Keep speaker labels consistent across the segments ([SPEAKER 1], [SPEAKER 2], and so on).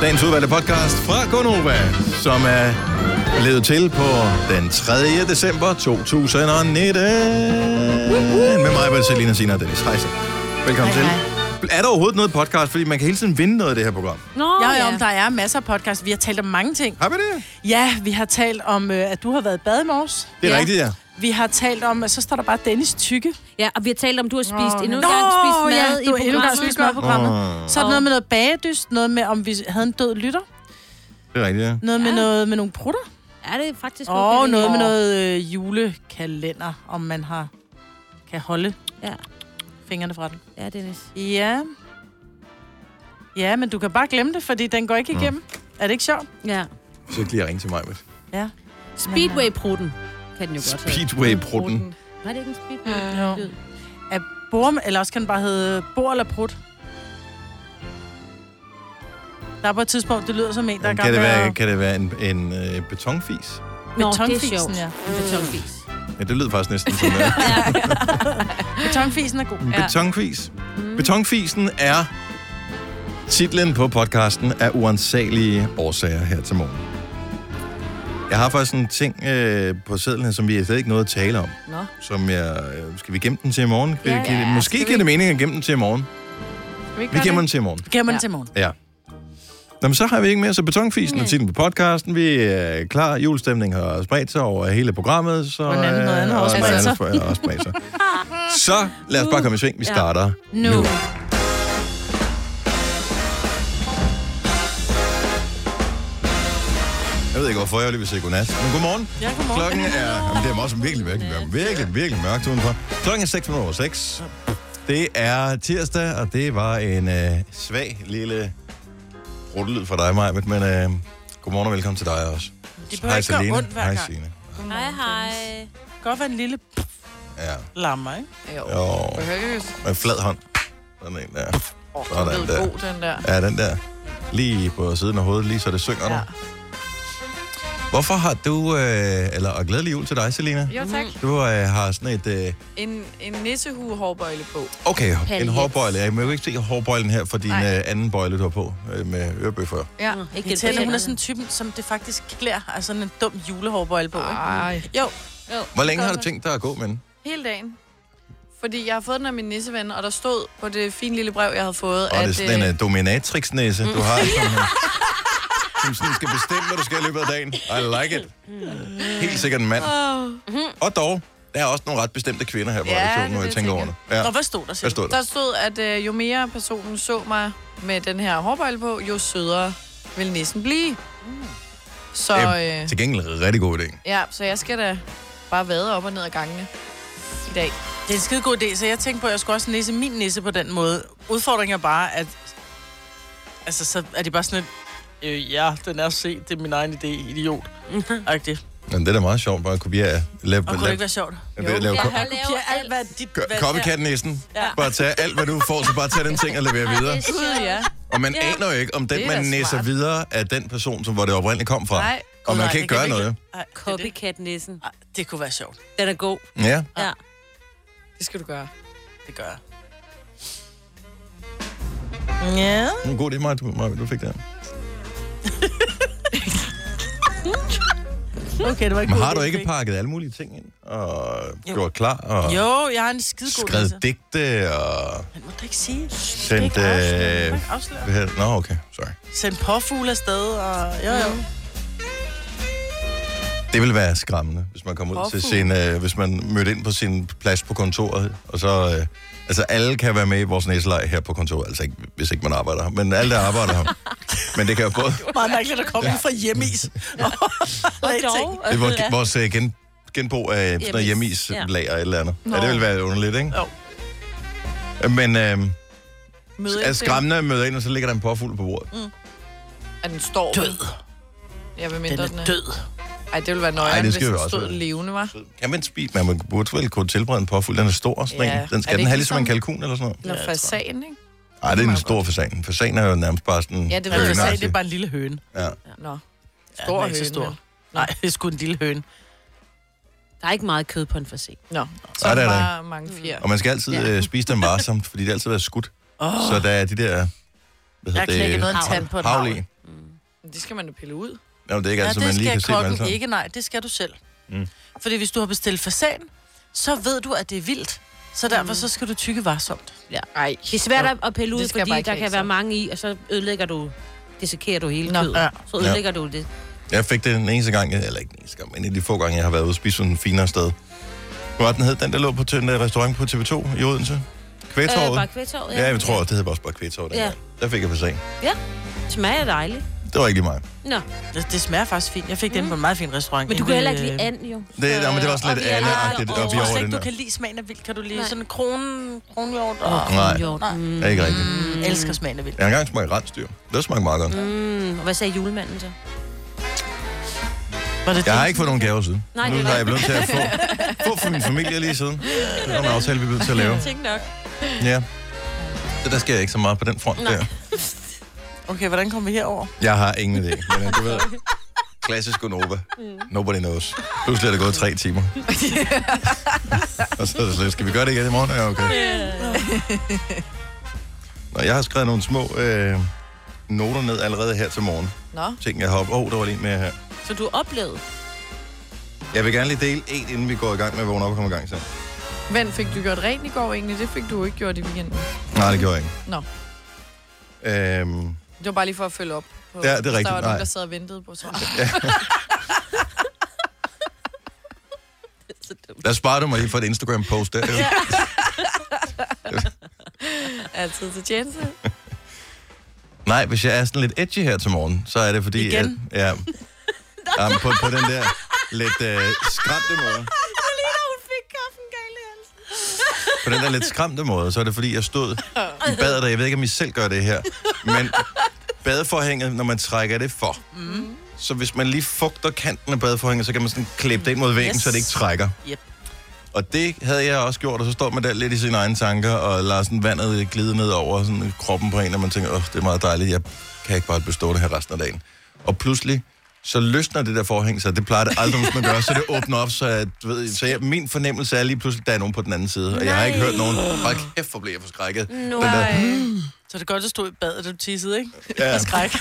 [SPEAKER 1] dagens udvalgte podcast fra Gonova, som er blevet til på den 3. december 2019. Med mig, Bertelina Sina og Dennis. Hej så. Velkommen
[SPEAKER 2] Hej,
[SPEAKER 1] til. Er der overhovedet noget podcast? Fordi man kan hele tiden vinde noget af det her program.
[SPEAKER 3] Nå,
[SPEAKER 2] Jo, jo, men der er masser af podcast. Vi har talt om mange ting.
[SPEAKER 1] Har vi det?
[SPEAKER 2] Ja, vi har talt om, øh, at du har været i bad i morges.
[SPEAKER 1] Det er
[SPEAKER 3] Ja.
[SPEAKER 1] rigtigt, ja.
[SPEAKER 2] Vi har talt om, at så står der bare Dennis Tykke.
[SPEAKER 3] Ja, og vi har talt om, du har spist
[SPEAKER 2] Nå,
[SPEAKER 3] endnu en gang spist
[SPEAKER 2] ja,
[SPEAKER 3] mad i
[SPEAKER 2] du har endnu en gang
[SPEAKER 3] programmet.
[SPEAKER 2] spist mad i programmet.
[SPEAKER 1] Åh,
[SPEAKER 2] Så er der noget med noget bagedyst, noget med, om vi havde en død lytter,
[SPEAKER 1] det er rigtigt, ja.
[SPEAKER 2] noget med,
[SPEAKER 3] Ja.
[SPEAKER 2] noget med nogle prutter,
[SPEAKER 3] Er det faktisk
[SPEAKER 2] og
[SPEAKER 3] okay?
[SPEAKER 2] noget med
[SPEAKER 3] Åh.
[SPEAKER 2] noget øh, julekalender, om man har kan holde
[SPEAKER 3] Ja.
[SPEAKER 2] fingrene fra den.
[SPEAKER 3] Ja, Dennis.
[SPEAKER 2] Ja. Ja, men du kan bare glemme det, fordi den går ikke igennem. Er det ikke sjovt?
[SPEAKER 3] Ja.
[SPEAKER 1] Så kan jeg lige ringe til mig. Med.
[SPEAKER 2] Ja.
[SPEAKER 3] Speedway-pruten kan den jo godt hedde.
[SPEAKER 1] Speedway-prutten.
[SPEAKER 3] Var det ikke en speedway?
[SPEAKER 2] Jo. Er bor, eller også kan den bare hedde bor eller prut. Der er på et tidspunkt, det lyder som en, der er i gang
[SPEAKER 1] Kan det
[SPEAKER 2] med
[SPEAKER 1] være,
[SPEAKER 2] at-
[SPEAKER 1] kan det være en, en øh, betonfis?
[SPEAKER 3] Nå, det er
[SPEAKER 2] Betonfisen,
[SPEAKER 3] sjovt.
[SPEAKER 2] ja.
[SPEAKER 3] En Betonfis.
[SPEAKER 1] Ja, det lyder faktisk næsten sådan. Ja.
[SPEAKER 2] Betonfisen er god.
[SPEAKER 1] En Betonfis.
[SPEAKER 3] Mm.
[SPEAKER 1] Betonfisen er titlen på podcasten af uansagelige årsager her til morgen. Jeg har faktisk en ting øh, på sædlen her, som vi slet ikke nåede at tale om.
[SPEAKER 3] Nå.
[SPEAKER 1] Som jeg, øh, skal vi gemme den til i morgen?
[SPEAKER 3] Ja,
[SPEAKER 1] Kan- kan-
[SPEAKER 3] ja,
[SPEAKER 1] Måske
[SPEAKER 3] skal vi-
[SPEAKER 1] giver det mening at gemme den til i morgen. Vi gemmer den til i morgen.
[SPEAKER 2] Gemmer den
[SPEAKER 3] Ja.
[SPEAKER 2] til morgen.
[SPEAKER 1] Ja. Nå, men så har vi ikke mere, så betonfisen er
[SPEAKER 3] Nej.
[SPEAKER 1] titlen på podcasten. Vi er klar. Julestemningen har spredt sig over hele programmet. Så,
[SPEAKER 2] Og noget andet- noget andet har
[SPEAKER 1] øh,
[SPEAKER 2] også
[SPEAKER 1] og noget
[SPEAKER 2] spredt
[SPEAKER 1] andet har også spredt sig. Så lad os bare komme i sving. Vi
[SPEAKER 3] Ja.
[SPEAKER 1] starter
[SPEAKER 2] Nu.
[SPEAKER 1] nu. Jeg ved ikke, hvorfor jeg lige vil sige godnat. Men godmorgen.
[SPEAKER 2] Ja, godmorgen.
[SPEAKER 1] Klokken er... Jamen, det er også virkelig, virkelig, virkelig, virkelig, virkelig mørkt udenfor. Klokken er 6 over 6. Det er tirsdag, og det var en øh, svag lille ruttelyd for dig, Maja. Men øh, godmorgen og velkommen til dig også.
[SPEAKER 2] Det behøver ikke gøre ondt hver
[SPEAKER 1] Hej,
[SPEAKER 2] gang.
[SPEAKER 1] Signe.
[SPEAKER 3] Hej, hej.
[SPEAKER 2] Det kan godt være en lille
[SPEAKER 1] Ja.
[SPEAKER 2] lammer, ikke?
[SPEAKER 4] Jo.
[SPEAKER 1] Jo.
[SPEAKER 4] Behøves.
[SPEAKER 1] Med en flad hånd. Sådan en der.
[SPEAKER 4] Åh,
[SPEAKER 1] Sådan
[SPEAKER 4] den
[SPEAKER 1] der.
[SPEAKER 4] er god, den der.
[SPEAKER 1] Ja, den der. Lige på siden af hovedet, lige så det synger ja.
[SPEAKER 4] Ja.
[SPEAKER 1] nu. Hvorfor har du... Øh, eller, og glædelig jul til dig, Selina.
[SPEAKER 4] Jo, tak.
[SPEAKER 1] Du øh, har sådan et... Øh,
[SPEAKER 4] Mm. En, en nissehue hårbøjle på.
[SPEAKER 1] okay, en
[SPEAKER 3] Paljet.
[SPEAKER 1] hårbøjle. Jeg må jo ikke se hårbøjlen her for din
[SPEAKER 4] Nej.
[SPEAKER 1] øh, anden bøjle, du har på øh, med ørebøffer.
[SPEAKER 4] Ja.
[SPEAKER 3] Nå, ikke
[SPEAKER 2] Det
[SPEAKER 3] det.
[SPEAKER 2] tænder, hun er sådan en type, som det faktisk klæder. Altså sådan en dum julehårbøjle på, ikke?
[SPEAKER 4] Ej.
[SPEAKER 2] Jo,
[SPEAKER 1] Hvor længe har du
[SPEAKER 4] Godt.
[SPEAKER 1] tænkt dig at gå med den?
[SPEAKER 4] Hele dagen. Fordi jeg har fået den af min nisseven, og der stod på det fine lille brev, jeg havde fået,
[SPEAKER 1] Og det er
[SPEAKER 4] at...
[SPEAKER 1] sådan en
[SPEAKER 4] øh,
[SPEAKER 1] øh, dominatrixnæse, du har. Som, øh, som sådan skal bestemme, hvad du skal i løbet af dagen. I like it. Helt sikkert en
[SPEAKER 4] øh,
[SPEAKER 1] mand. Og dog, der er også nogle ret bestemte kvinder her på
[SPEAKER 4] Ja,
[SPEAKER 1] redaktionen,
[SPEAKER 4] det er
[SPEAKER 1] når jeg
[SPEAKER 4] det,
[SPEAKER 1] tænker
[SPEAKER 4] jeg
[SPEAKER 1] over det. Ja.
[SPEAKER 2] og hvad stod der, siger
[SPEAKER 1] Ah. Hvad stod der?
[SPEAKER 4] der stod, at øh, jo mere personen så mig med den her hårbøjle på, jo sødere vil nissen blive.
[SPEAKER 1] Mm.
[SPEAKER 4] Så, øh,
[SPEAKER 1] Til gengæld rigtig god idé.
[SPEAKER 4] ja, så jeg skal da bare vade op og ned ad gangene i dag.
[SPEAKER 2] Det er en skide god idé, så jeg tænkte på, at jeg skulle også nisse min nisse på den måde. Udfordringen er bare, at... Altså, så er det bare sådan et... Øh, ja, den er set. Det er min egen idé, idiot.
[SPEAKER 3] Mhm.
[SPEAKER 2] Agtigt.
[SPEAKER 1] Men det er da meget sjovt, bare at kopiere. Lav,
[SPEAKER 2] Og kunne det ikke være sjovt?
[SPEAKER 1] lave, lave,
[SPEAKER 3] Jeg har
[SPEAKER 2] Kopier
[SPEAKER 3] lavet
[SPEAKER 2] alt, hvad dit...
[SPEAKER 1] Gør-
[SPEAKER 2] hvad-
[SPEAKER 1] Copycat-næsten.
[SPEAKER 2] Ja.
[SPEAKER 1] Bare tage alt, hvad du får, så bare tage den ting og levere videre.
[SPEAKER 4] Gud, ja.
[SPEAKER 1] Og man aner jo ikke, om
[SPEAKER 4] Det
[SPEAKER 1] den,
[SPEAKER 4] er
[SPEAKER 1] man
[SPEAKER 4] da
[SPEAKER 1] næser
[SPEAKER 4] smart.
[SPEAKER 1] videre, er den person, som hvor det oprindeligt kom fra.
[SPEAKER 4] Nej.
[SPEAKER 1] Og man
[SPEAKER 2] Nej,
[SPEAKER 1] kan ikke gøre
[SPEAKER 2] vi
[SPEAKER 1] noget.
[SPEAKER 2] Ej, det er det.
[SPEAKER 3] Copycat-nissen.
[SPEAKER 2] Ej, det kunne være sjovt.
[SPEAKER 3] Den er god.
[SPEAKER 1] Ja.
[SPEAKER 3] Ja.
[SPEAKER 4] Det skal du gøre.
[SPEAKER 2] Det gør jeg. Ja.
[SPEAKER 1] En god idé, Maja, du, Maja, du fik det.
[SPEAKER 2] Okay, det var ikke
[SPEAKER 1] Men
[SPEAKER 2] god
[SPEAKER 1] har
[SPEAKER 2] idé,
[SPEAKER 1] du ikke
[SPEAKER 2] fik.
[SPEAKER 1] pakket alle mulige ting ind? Og
[SPEAKER 2] Jo.
[SPEAKER 1] gjort klar? Og
[SPEAKER 2] Jo, jeg har en skide god nisse.
[SPEAKER 1] skrevet digte? Og
[SPEAKER 2] Men må du ikke sige?
[SPEAKER 1] sendt...
[SPEAKER 2] Det er ikke afsløret.
[SPEAKER 1] øh,
[SPEAKER 2] Du må ikke afsløre.
[SPEAKER 1] hvad hedder det? Nå, okay. Sorry.
[SPEAKER 2] Send påfugle afsted, og jo, jo.
[SPEAKER 1] Det ville være skræmmende, hvis man kom ud til sin, øh, hvis man mødte ind på sin plads på kontoret, og så, øh, altså alle kan være med i vores næselej her på kontoret, altså ikke, hvis ikke man arbejder her, men alle der arbejder her. Men det kan jo både,
[SPEAKER 2] Meget mærkeligt at komme ja. fra hjemmeis. Og, og dog.
[SPEAKER 1] det er vores, vores øh, gen, genbrug af sådan noget
[SPEAKER 3] Hjemmeis, ja.
[SPEAKER 1] hjemmislager eller et eller andet. Ja,
[SPEAKER 4] Nå.
[SPEAKER 1] det ville være underligt, ikke?
[SPEAKER 2] Jo.
[SPEAKER 1] Men øh,
[SPEAKER 4] Møde
[SPEAKER 1] er
[SPEAKER 4] ind til-
[SPEAKER 1] skræmmende at møde ind, og så ligger der en påfugl på bordet.
[SPEAKER 4] at den står
[SPEAKER 2] Død.
[SPEAKER 4] Ja, hvad
[SPEAKER 2] Den
[SPEAKER 4] mindre den
[SPEAKER 2] er
[SPEAKER 4] er.
[SPEAKER 2] død.
[SPEAKER 4] Ej, det ville være
[SPEAKER 1] Ej,
[SPEAKER 4] nøjeren,
[SPEAKER 1] det
[SPEAKER 4] hvis
[SPEAKER 1] skal jo
[SPEAKER 4] den
[SPEAKER 1] også
[SPEAKER 4] stod
[SPEAKER 1] være.
[SPEAKER 4] levende, var.
[SPEAKER 1] Kan man spise, men man burde vel kunne tilberede en påfugl, den er stor, sådan
[SPEAKER 4] Ja.
[SPEAKER 1] ja. den
[SPEAKER 4] Er det
[SPEAKER 1] skal den
[SPEAKER 4] ikke
[SPEAKER 1] have ligesom en
[SPEAKER 4] ligesom-
[SPEAKER 1] kalkun eller sådan noget.
[SPEAKER 4] Eller
[SPEAKER 2] Ja, jeg tror.
[SPEAKER 4] fasan, ikke?
[SPEAKER 1] Nej, det er en stor fasan. Fasan er jo nærmest bare sådan...
[SPEAKER 4] Ja, det ved
[SPEAKER 2] Jeg vil sige,
[SPEAKER 4] jeg
[SPEAKER 1] høneagtig.
[SPEAKER 2] Altså, det er bare en lille høne.
[SPEAKER 1] Ja.
[SPEAKER 2] Ja,
[SPEAKER 4] Nå. altså. Stor
[SPEAKER 2] den er
[SPEAKER 4] ja,
[SPEAKER 2] ikke så
[SPEAKER 4] høne. Stor.
[SPEAKER 2] stor. Nej, det er sgu en lille høne.
[SPEAKER 3] Der er ikke meget kød på en forsen.
[SPEAKER 4] Nå, så
[SPEAKER 1] Ej,
[SPEAKER 4] er
[SPEAKER 1] det
[SPEAKER 4] der
[SPEAKER 1] er der
[SPEAKER 4] bare mange fjer.
[SPEAKER 1] Og man skal altid
[SPEAKER 3] Ja.
[SPEAKER 1] ja. øh, spise dem varsomt, fordi det altid er skudt.
[SPEAKER 2] Åh,
[SPEAKER 1] Så der er de der... Hvad
[SPEAKER 2] jeg knækkede noget af en tand på et
[SPEAKER 1] havl
[SPEAKER 2] havl.
[SPEAKER 1] i.
[SPEAKER 3] Mm.
[SPEAKER 4] Det skal man jo pille ud.
[SPEAKER 1] Nå, det er ikke
[SPEAKER 2] Ja,
[SPEAKER 1] altid,
[SPEAKER 2] det
[SPEAKER 1] Altså, man lige
[SPEAKER 2] skal
[SPEAKER 1] kan se dem alle
[SPEAKER 2] kokken
[SPEAKER 1] sammen.
[SPEAKER 2] ikke, nej, det skal du selv.
[SPEAKER 1] Mm.
[SPEAKER 2] Mm. Fordi hvis du har bestilt fasan, så ved du, at det er vildt. Så derfor
[SPEAKER 3] Mm.
[SPEAKER 2] så skal du tykke varsomt.
[SPEAKER 4] Nej.
[SPEAKER 3] Det er svært at- at pille ud,
[SPEAKER 4] Det skal jeg
[SPEAKER 3] fordi
[SPEAKER 4] bare
[SPEAKER 3] der
[SPEAKER 4] ikke have,
[SPEAKER 3] kan
[SPEAKER 4] så.
[SPEAKER 3] være mange i, og så ødelægger du, dissekerer du hele
[SPEAKER 4] Nå,
[SPEAKER 3] kødet.
[SPEAKER 2] ja.
[SPEAKER 3] Så ødelægger du det.
[SPEAKER 1] Jeg fik det den eneste gang, jeg- eller ikke den eneste gang, men en af de få gange, jeg har været ude og spise sådan en finere sted. Hvor var den hed, den der lå på den der restaurant på TV2 i Odense? Kvægtorvet?
[SPEAKER 3] Øh, bare kvægtorvet,
[SPEAKER 1] ja. jeg tror, det hed også bare Kvægtorvet
[SPEAKER 3] Ja.
[SPEAKER 1] dengang. Der fik jeg fasan.
[SPEAKER 3] Smager dejligt.
[SPEAKER 1] Det var ikke lige mig.
[SPEAKER 3] Nå,
[SPEAKER 2] Det, det smager faktisk fint. Jeg fik mm. den på en meget fin restaurant.
[SPEAKER 3] men du
[SPEAKER 2] inde
[SPEAKER 3] kan
[SPEAKER 2] i,
[SPEAKER 3] heller ikke lide
[SPEAKER 2] øh,
[SPEAKER 3] and, jo.
[SPEAKER 1] Det, ja, men det var sådan
[SPEAKER 3] og
[SPEAKER 1] lidt
[SPEAKER 3] vi er lidt
[SPEAKER 1] alle-agtigt,
[SPEAKER 3] oppe
[SPEAKER 1] og vi
[SPEAKER 2] Jeg
[SPEAKER 1] er
[SPEAKER 2] tror
[SPEAKER 1] over
[SPEAKER 2] slet
[SPEAKER 1] den
[SPEAKER 2] ikke,
[SPEAKER 1] der.
[SPEAKER 2] du kan lide smagen af vildt. Kan du lide
[SPEAKER 3] Nej.
[SPEAKER 2] sådan en kronen, kronhjort? Og...
[SPEAKER 3] Åh,
[SPEAKER 1] Nej.
[SPEAKER 3] kronhjort.
[SPEAKER 2] Nej.
[SPEAKER 3] Mm.
[SPEAKER 1] Det er ikke rigtigt.
[SPEAKER 2] Jeg elsker smagen af vildt.
[SPEAKER 1] Jeg har engang smagt rensdyr. Det smagte meget godt.
[SPEAKER 3] Mm, og hvad sagde julemanden så?
[SPEAKER 2] Var det
[SPEAKER 1] Jeg har
[SPEAKER 2] det?
[SPEAKER 1] ikke fået nogen gaver siden.
[SPEAKER 3] Nej,
[SPEAKER 1] nu
[SPEAKER 3] det er
[SPEAKER 1] har jeg
[SPEAKER 3] rigtigt.
[SPEAKER 1] blevet til at få, få fra min familie lige siden. Det var en aftale, vi blev til at lave.
[SPEAKER 3] Tænk nok.
[SPEAKER 1] Ja. Så der sker ikke så meget på den front der.
[SPEAKER 2] Okay, hvordan kom vi herover?
[SPEAKER 1] Jeg har ingen idé, men øh, du ved, klassisk Nova. Nobody knows. Pludselig er det gået tre timer. og så er det slet, skal vi gøre det igen i morgen? Ja, okay.
[SPEAKER 3] Øh.
[SPEAKER 1] Nå, jeg har skrevet nogle små øh, noter ned allerede her til morgen.
[SPEAKER 4] Nå.
[SPEAKER 1] Ting, jeg har op. Åh, oh, der var lige en mere her.
[SPEAKER 3] Så du oplevede?
[SPEAKER 1] Jeg vil gerne lige dele en, inden vi går i gang med at vågne op og komme i gang så.
[SPEAKER 4] Vend, fik du gjort rent i går egentlig? Det fik du jo ikke gjort i weekenden.
[SPEAKER 1] Nej, det gjorde jeg ikke.
[SPEAKER 4] Nå.
[SPEAKER 1] Øhm,
[SPEAKER 4] Det var bare lige for at følge op. På,
[SPEAKER 1] Ja, det er
[SPEAKER 4] hvis
[SPEAKER 1] rigtigt.
[SPEAKER 4] Der var
[SPEAKER 1] Nej.
[SPEAKER 4] nogen, der sad og ventede på svar.
[SPEAKER 3] Så dumt.
[SPEAKER 1] der sparer du mig lige for et Instagram-post der. Ja.
[SPEAKER 4] Altid til tjeneste.
[SPEAKER 1] Nej, hvis jeg er sådan lidt edgy her til morgen, så er det fordi...
[SPEAKER 2] Igen?
[SPEAKER 1] At, ja. Jamen, på, på den der lidt øh, skræmte måde.
[SPEAKER 3] Du ligner, hun fik kaffen galt i halsen.
[SPEAKER 1] På den der lidt skræmte måde, så er det fordi, jeg stod i badet, og jeg ved ikke, om I selv gør det her, men badeforhænget, når man trækker det for, mm. så hvis man lige fugter kanten af badeforhænget, så kan man sådan klippe det ind mod væggen, yes.
[SPEAKER 2] Yes.
[SPEAKER 1] så det ikke trækker.
[SPEAKER 2] Yep.
[SPEAKER 1] Og det havde jeg også gjort, og så står man der lidt i sine egne tanker, og lader sådan vandet glide ned over sådan kroppen på en, og man tænker, åh, det er meget dejligt, jeg kan ikke bare bestå det her resten af dagen. Og pludselig, så løsner det der forhæng sig, det plejer det aldrig, hvis man gør, så det åbner op, så, jeg, du ved, så jeg, min fornemmelse er lige pludselig, der er nogen på den anden side, og jeg har ikke hørt nogen, hold kæft, hvor blev jeg forskrækket. Den der,
[SPEAKER 4] Nej.
[SPEAKER 3] Mm.
[SPEAKER 2] Så det er godt, at du stod i badet, og du tissede, ikke?
[SPEAKER 1] ja,
[SPEAKER 2] Skræk.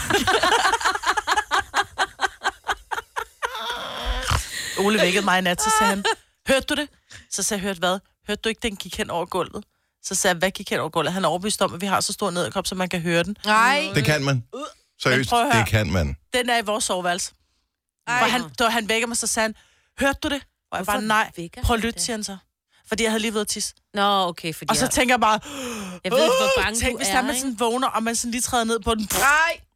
[SPEAKER 2] Ole vækkede mig i nat, så sagde han, hørte du det? Så sagde jeg, hørte hvad? Hørte du ikke, den gik hen over gulvet? Så sagde jeg, hvad gik hen over gulvet? Han er overbevist om, at vi har så stor nederkop, så man kan høre den.
[SPEAKER 4] Nej.
[SPEAKER 1] det kan man. Seriøst,
[SPEAKER 2] prøv at høre.
[SPEAKER 1] det kan man.
[SPEAKER 2] Den er i vores soveværelse. Hvor han, da han vækker mig, så sagde han, hørte du det? Og jeg
[SPEAKER 3] Hvorfor
[SPEAKER 2] bare, nej,
[SPEAKER 3] vækker
[SPEAKER 2] prøv at
[SPEAKER 3] han
[SPEAKER 2] lytte,
[SPEAKER 3] det?
[SPEAKER 2] siger han så. Fordi jeg havde lige været at tisse.
[SPEAKER 3] Nå, okay, fordi
[SPEAKER 2] Og så
[SPEAKER 3] jeg-
[SPEAKER 2] tænker jeg bare,
[SPEAKER 3] jeg ved ikke, hvor
[SPEAKER 2] "Åh,
[SPEAKER 3] bange
[SPEAKER 2] tænk,
[SPEAKER 3] du
[SPEAKER 2] hvis
[SPEAKER 3] er,
[SPEAKER 2] der man
[SPEAKER 3] ikke?
[SPEAKER 2] sådan vågner, og man sådan lige træder ned på den.
[SPEAKER 4] Nej.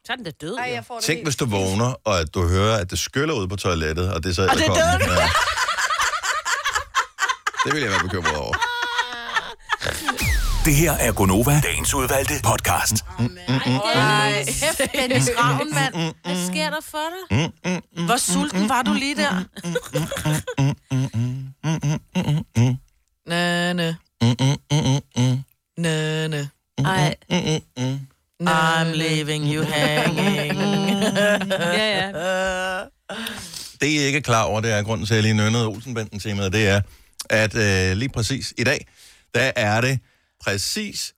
[SPEAKER 3] Så er den da død,
[SPEAKER 4] Nej,
[SPEAKER 3] jo.
[SPEAKER 4] jeg får det
[SPEAKER 1] Tænk, hvis du vågner, og at du hører, at det skyller ud på toilettet, og det er så
[SPEAKER 2] det er
[SPEAKER 1] edderkoppen. Ja. Det vil jeg være bekymret over.
[SPEAKER 5] Det her er Gonova, dagens udvalgte podcast.
[SPEAKER 3] Ej, kæft, Dennis Ravn, mand. Hvad sker der for dig?
[SPEAKER 2] Hvor sulten var du lige der?
[SPEAKER 4] Næ, næ.
[SPEAKER 1] Mm,
[SPEAKER 4] Næ, næ.
[SPEAKER 3] Ej,
[SPEAKER 2] I'm leaving you hanging.
[SPEAKER 3] ja, ja.
[SPEAKER 1] Det, I ikke er klar over, det er grunden til, at jeg lige nønnede Olsenbanden temaet, det er, at øh, lige præcis i dag, der er det præcis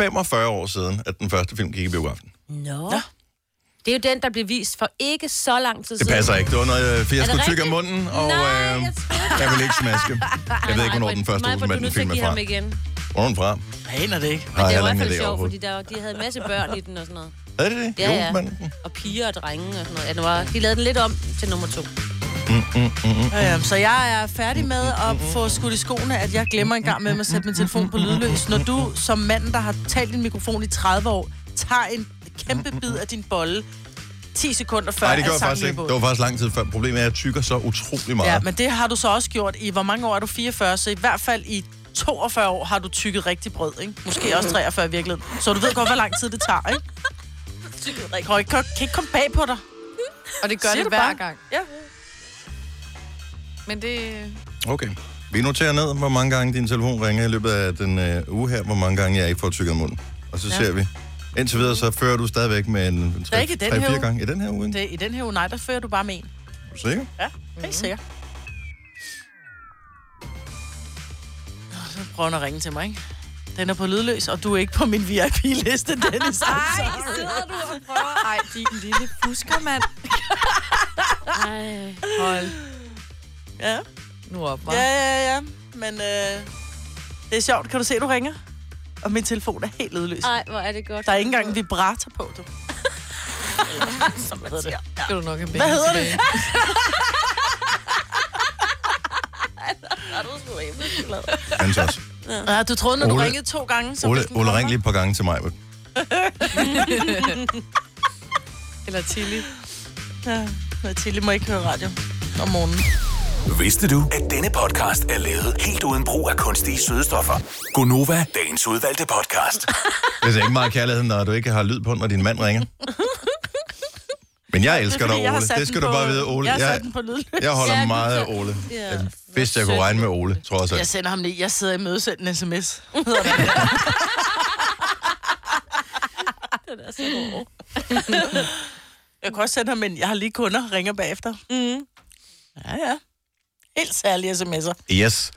[SPEAKER 1] 45 år siden, at den første film gik i biografen.
[SPEAKER 3] Nå. Det er jo den, der blev vist for ikke så lang tid
[SPEAKER 1] Det
[SPEAKER 3] siden.
[SPEAKER 1] passer ikke. Det var noget øh, fiasko
[SPEAKER 3] Er det
[SPEAKER 1] tyk af
[SPEAKER 3] rigtigt?
[SPEAKER 1] munden, og
[SPEAKER 3] Nej,
[SPEAKER 1] øh,
[SPEAKER 3] jeg troede-
[SPEAKER 1] jeg vil ikke smaske. Jeg ved ikke, hvornår den første
[SPEAKER 3] Maja, du er nødt til at
[SPEAKER 1] Olsenbanden-film er
[SPEAKER 3] give
[SPEAKER 1] fra.
[SPEAKER 3] ham igen.
[SPEAKER 1] Hvor er den fra?
[SPEAKER 2] Jeg aner det ikke.
[SPEAKER 1] Har
[SPEAKER 3] det
[SPEAKER 1] jeg
[SPEAKER 3] var i
[SPEAKER 1] heller
[SPEAKER 3] hvert
[SPEAKER 1] ingen
[SPEAKER 3] fald
[SPEAKER 1] idé
[SPEAKER 3] sjovt, fordi
[SPEAKER 1] overhovedet.
[SPEAKER 3] der, var- de havde en masse børn i den og sådan noget.
[SPEAKER 1] Havde det det?
[SPEAKER 3] Ja, ja.
[SPEAKER 1] Olsenbanden?
[SPEAKER 3] Og piger og drenge og sådan noget. Ja, den var, de lavede den lidt om til nummer to.
[SPEAKER 2] Øhm, så jeg er færdig med at få skudt i skoene, at jeg glemmer en gang med at sætte min telefon på lydløs. Når du som mand, der har talt din mikrofon i 30 år, tager en kæmpe bid af din bolle 10 sekunder før,
[SPEAKER 1] Nej, det
[SPEAKER 2] at
[SPEAKER 1] gjorde jeg
[SPEAKER 2] sangen
[SPEAKER 1] faktisk ikke.
[SPEAKER 2] løber ud.
[SPEAKER 1] Det var faktisk lang tid før. Problemet er, at jeg tykker så utrolig meget.
[SPEAKER 2] Ja, men det har du så også gjort i, hvor mange år er du? 44, så i hvert fald i 42 år har du tykket rigtig brød, ikke? Måske også 43 i virkeligheden. Så du ved godt, hvor lang tid det tager, ikke? Tykket rigtig. Kan, kan, kan ikke komme bag på dig.
[SPEAKER 4] Og det gør
[SPEAKER 2] Siger
[SPEAKER 4] det
[SPEAKER 2] du
[SPEAKER 4] hver
[SPEAKER 2] bare?
[SPEAKER 4] gang.
[SPEAKER 2] Ja.
[SPEAKER 4] Men det...
[SPEAKER 1] Okay. Vi noterer ned, hvor mange gange din telefon ringer i løbet af den øh, uge her, hvor mange gange jeg ikke får tykket munden. Og så ja. ser vi. Indtil videre, så fører du stadigvæk med en, en
[SPEAKER 2] ikke i den her
[SPEAKER 1] 3-4
[SPEAKER 2] uge.
[SPEAKER 1] gange. I den her uge, ikke?
[SPEAKER 2] Det, I den her uge, nej, der fører du bare med en.
[SPEAKER 1] Er du sikker?
[SPEAKER 2] Ja, helt sikkert. Nå, så prøver hun at ringe til mig, ikke? Den er på lydløs, og du er ikke på min VIP-liste, Dennis.
[SPEAKER 4] Ej, sidder du og prøver? Ej, din lille fusker, mand.
[SPEAKER 3] Ej.
[SPEAKER 4] Hold
[SPEAKER 2] Ja,
[SPEAKER 4] nu op, hva'?
[SPEAKER 2] ja, ja, ja. Men øh, det er sjovt. Kan du se, du ringer? Og min telefon er helt lydløs.
[SPEAKER 3] Ej, hvor er det godt.
[SPEAKER 2] Der er ikke engang en vibrator på, du. Som hedder det.
[SPEAKER 4] Skal du nok have
[SPEAKER 2] Hvad hedder
[SPEAKER 4] det?
[SPEAKER 1] Hans også.
[SPEAKER 2] Ja, du troede, når du
[SPEAKER 1] Ole-
[SPEAKER 2] ringede to gange, så
[SPEAKER 1] Ole,
[SPEAKER 2] vidste den
[SPEAKER 1] Ole
[SPEAKER 2] kommer.
[SPEAKER 1] ring lige et par gange til mig.
[SPEAKER 4] Eller Tilly.
[SPEAKER 2] Ja, men Tilly må ikke høre radio om morgenen.
[SPEAKER 5] Vidste du, at denne podcast er lavet helt uden brug af kunstige sødestoffer? Gonova, dagens udvalgte podcast.
[SPEAKER 1] Hvis ikke meget kærlighed, når du ikke har lyd på, når din mand ringer. Men jeg elsker dig,
[SPEAKER 2] fordi, jeg har
[SPEAKER 1] Ole.
[SPEAKER 2] sat
[SPEAKER 1] Det skal
[SPEAKER 2] den
[SPEAKER 1] du
[SPEAKER 2] på-
[SPEAKER 1] bare vide, Ole.
[SPEAKER 2] Jeg har
[SPEAKER 1] Jeg,
[SPEAKER 2] sat den på lydløs.
[SPEAKER 1] jeg
[SPEAKER 3] Ja,
[SPEAKER 1] holder
[SPEAKER 3] du
[SPEAKER 1] meget af
[SPEAKER 3] kan-
[SPEAKER 1] Ole.
[SPEAKER 3] Ja.
[SPEAKER 1] Jeg vidste, jeg kunne regne med Ole, tror jeg så.
[SPEAKER 2] Jeg sender ham lige. Jeg sidder i møde send en sms.
[SPEAKER 3] Den er så hård.
[SPEAKER 2] Jeg kan også sende ham en. Jeg har lige kunder, ringer bagefter. Mm. Ja, ja. Helt særlige sms'er.
[SPEAKER 1] Yes.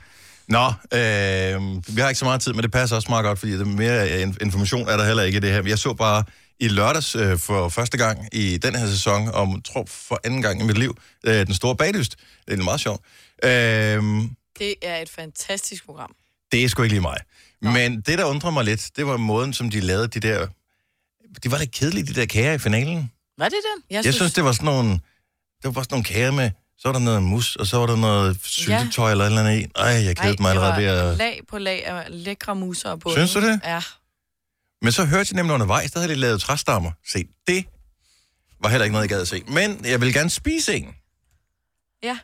[SPEAKER 1] Nå, øh, vi har ikke så meget tid, men det passer også meget godt, fordi det er mere øh, in- information er der heller ikke i det her. Jeg så bare i lørdags øh, for første gang i den her sæson, og tror for anden gang i mit liv, øh, Den Store Baglyst. Det er meget sjovt. Øh,
[SPEAKER 4] Det er et fantastisk program.
[SPEAKER 1] det er sgu ikke lige mig. Men det, der undrer mig lidt, det var måden, som de lavede de der... De var lidt kedelige, de der kager i finalen.
[SPEAKER 2] Var det den?
[SPEAKER 1] Jeg synes, det var sådan nogle, det var bare sådan nogle kager med, så var der noget mus, og så var der noget syltetøj eller et eller andet i. Ej, jeg kedede mig allerede ved at...
[SPEAKER 4] lag på lag af lækre muser på.
[SPEAKER 1] Synes du det?
[SPEAKER 4] Ja.
[SPEAKER 1] Men så hørte jeg nemlig undervejs, der havde de lavet træstammer. Se, det var heller ikke noget, jeg gad at se. Men jeg ville gerne spise en.
[SPEAKER 4] Ja.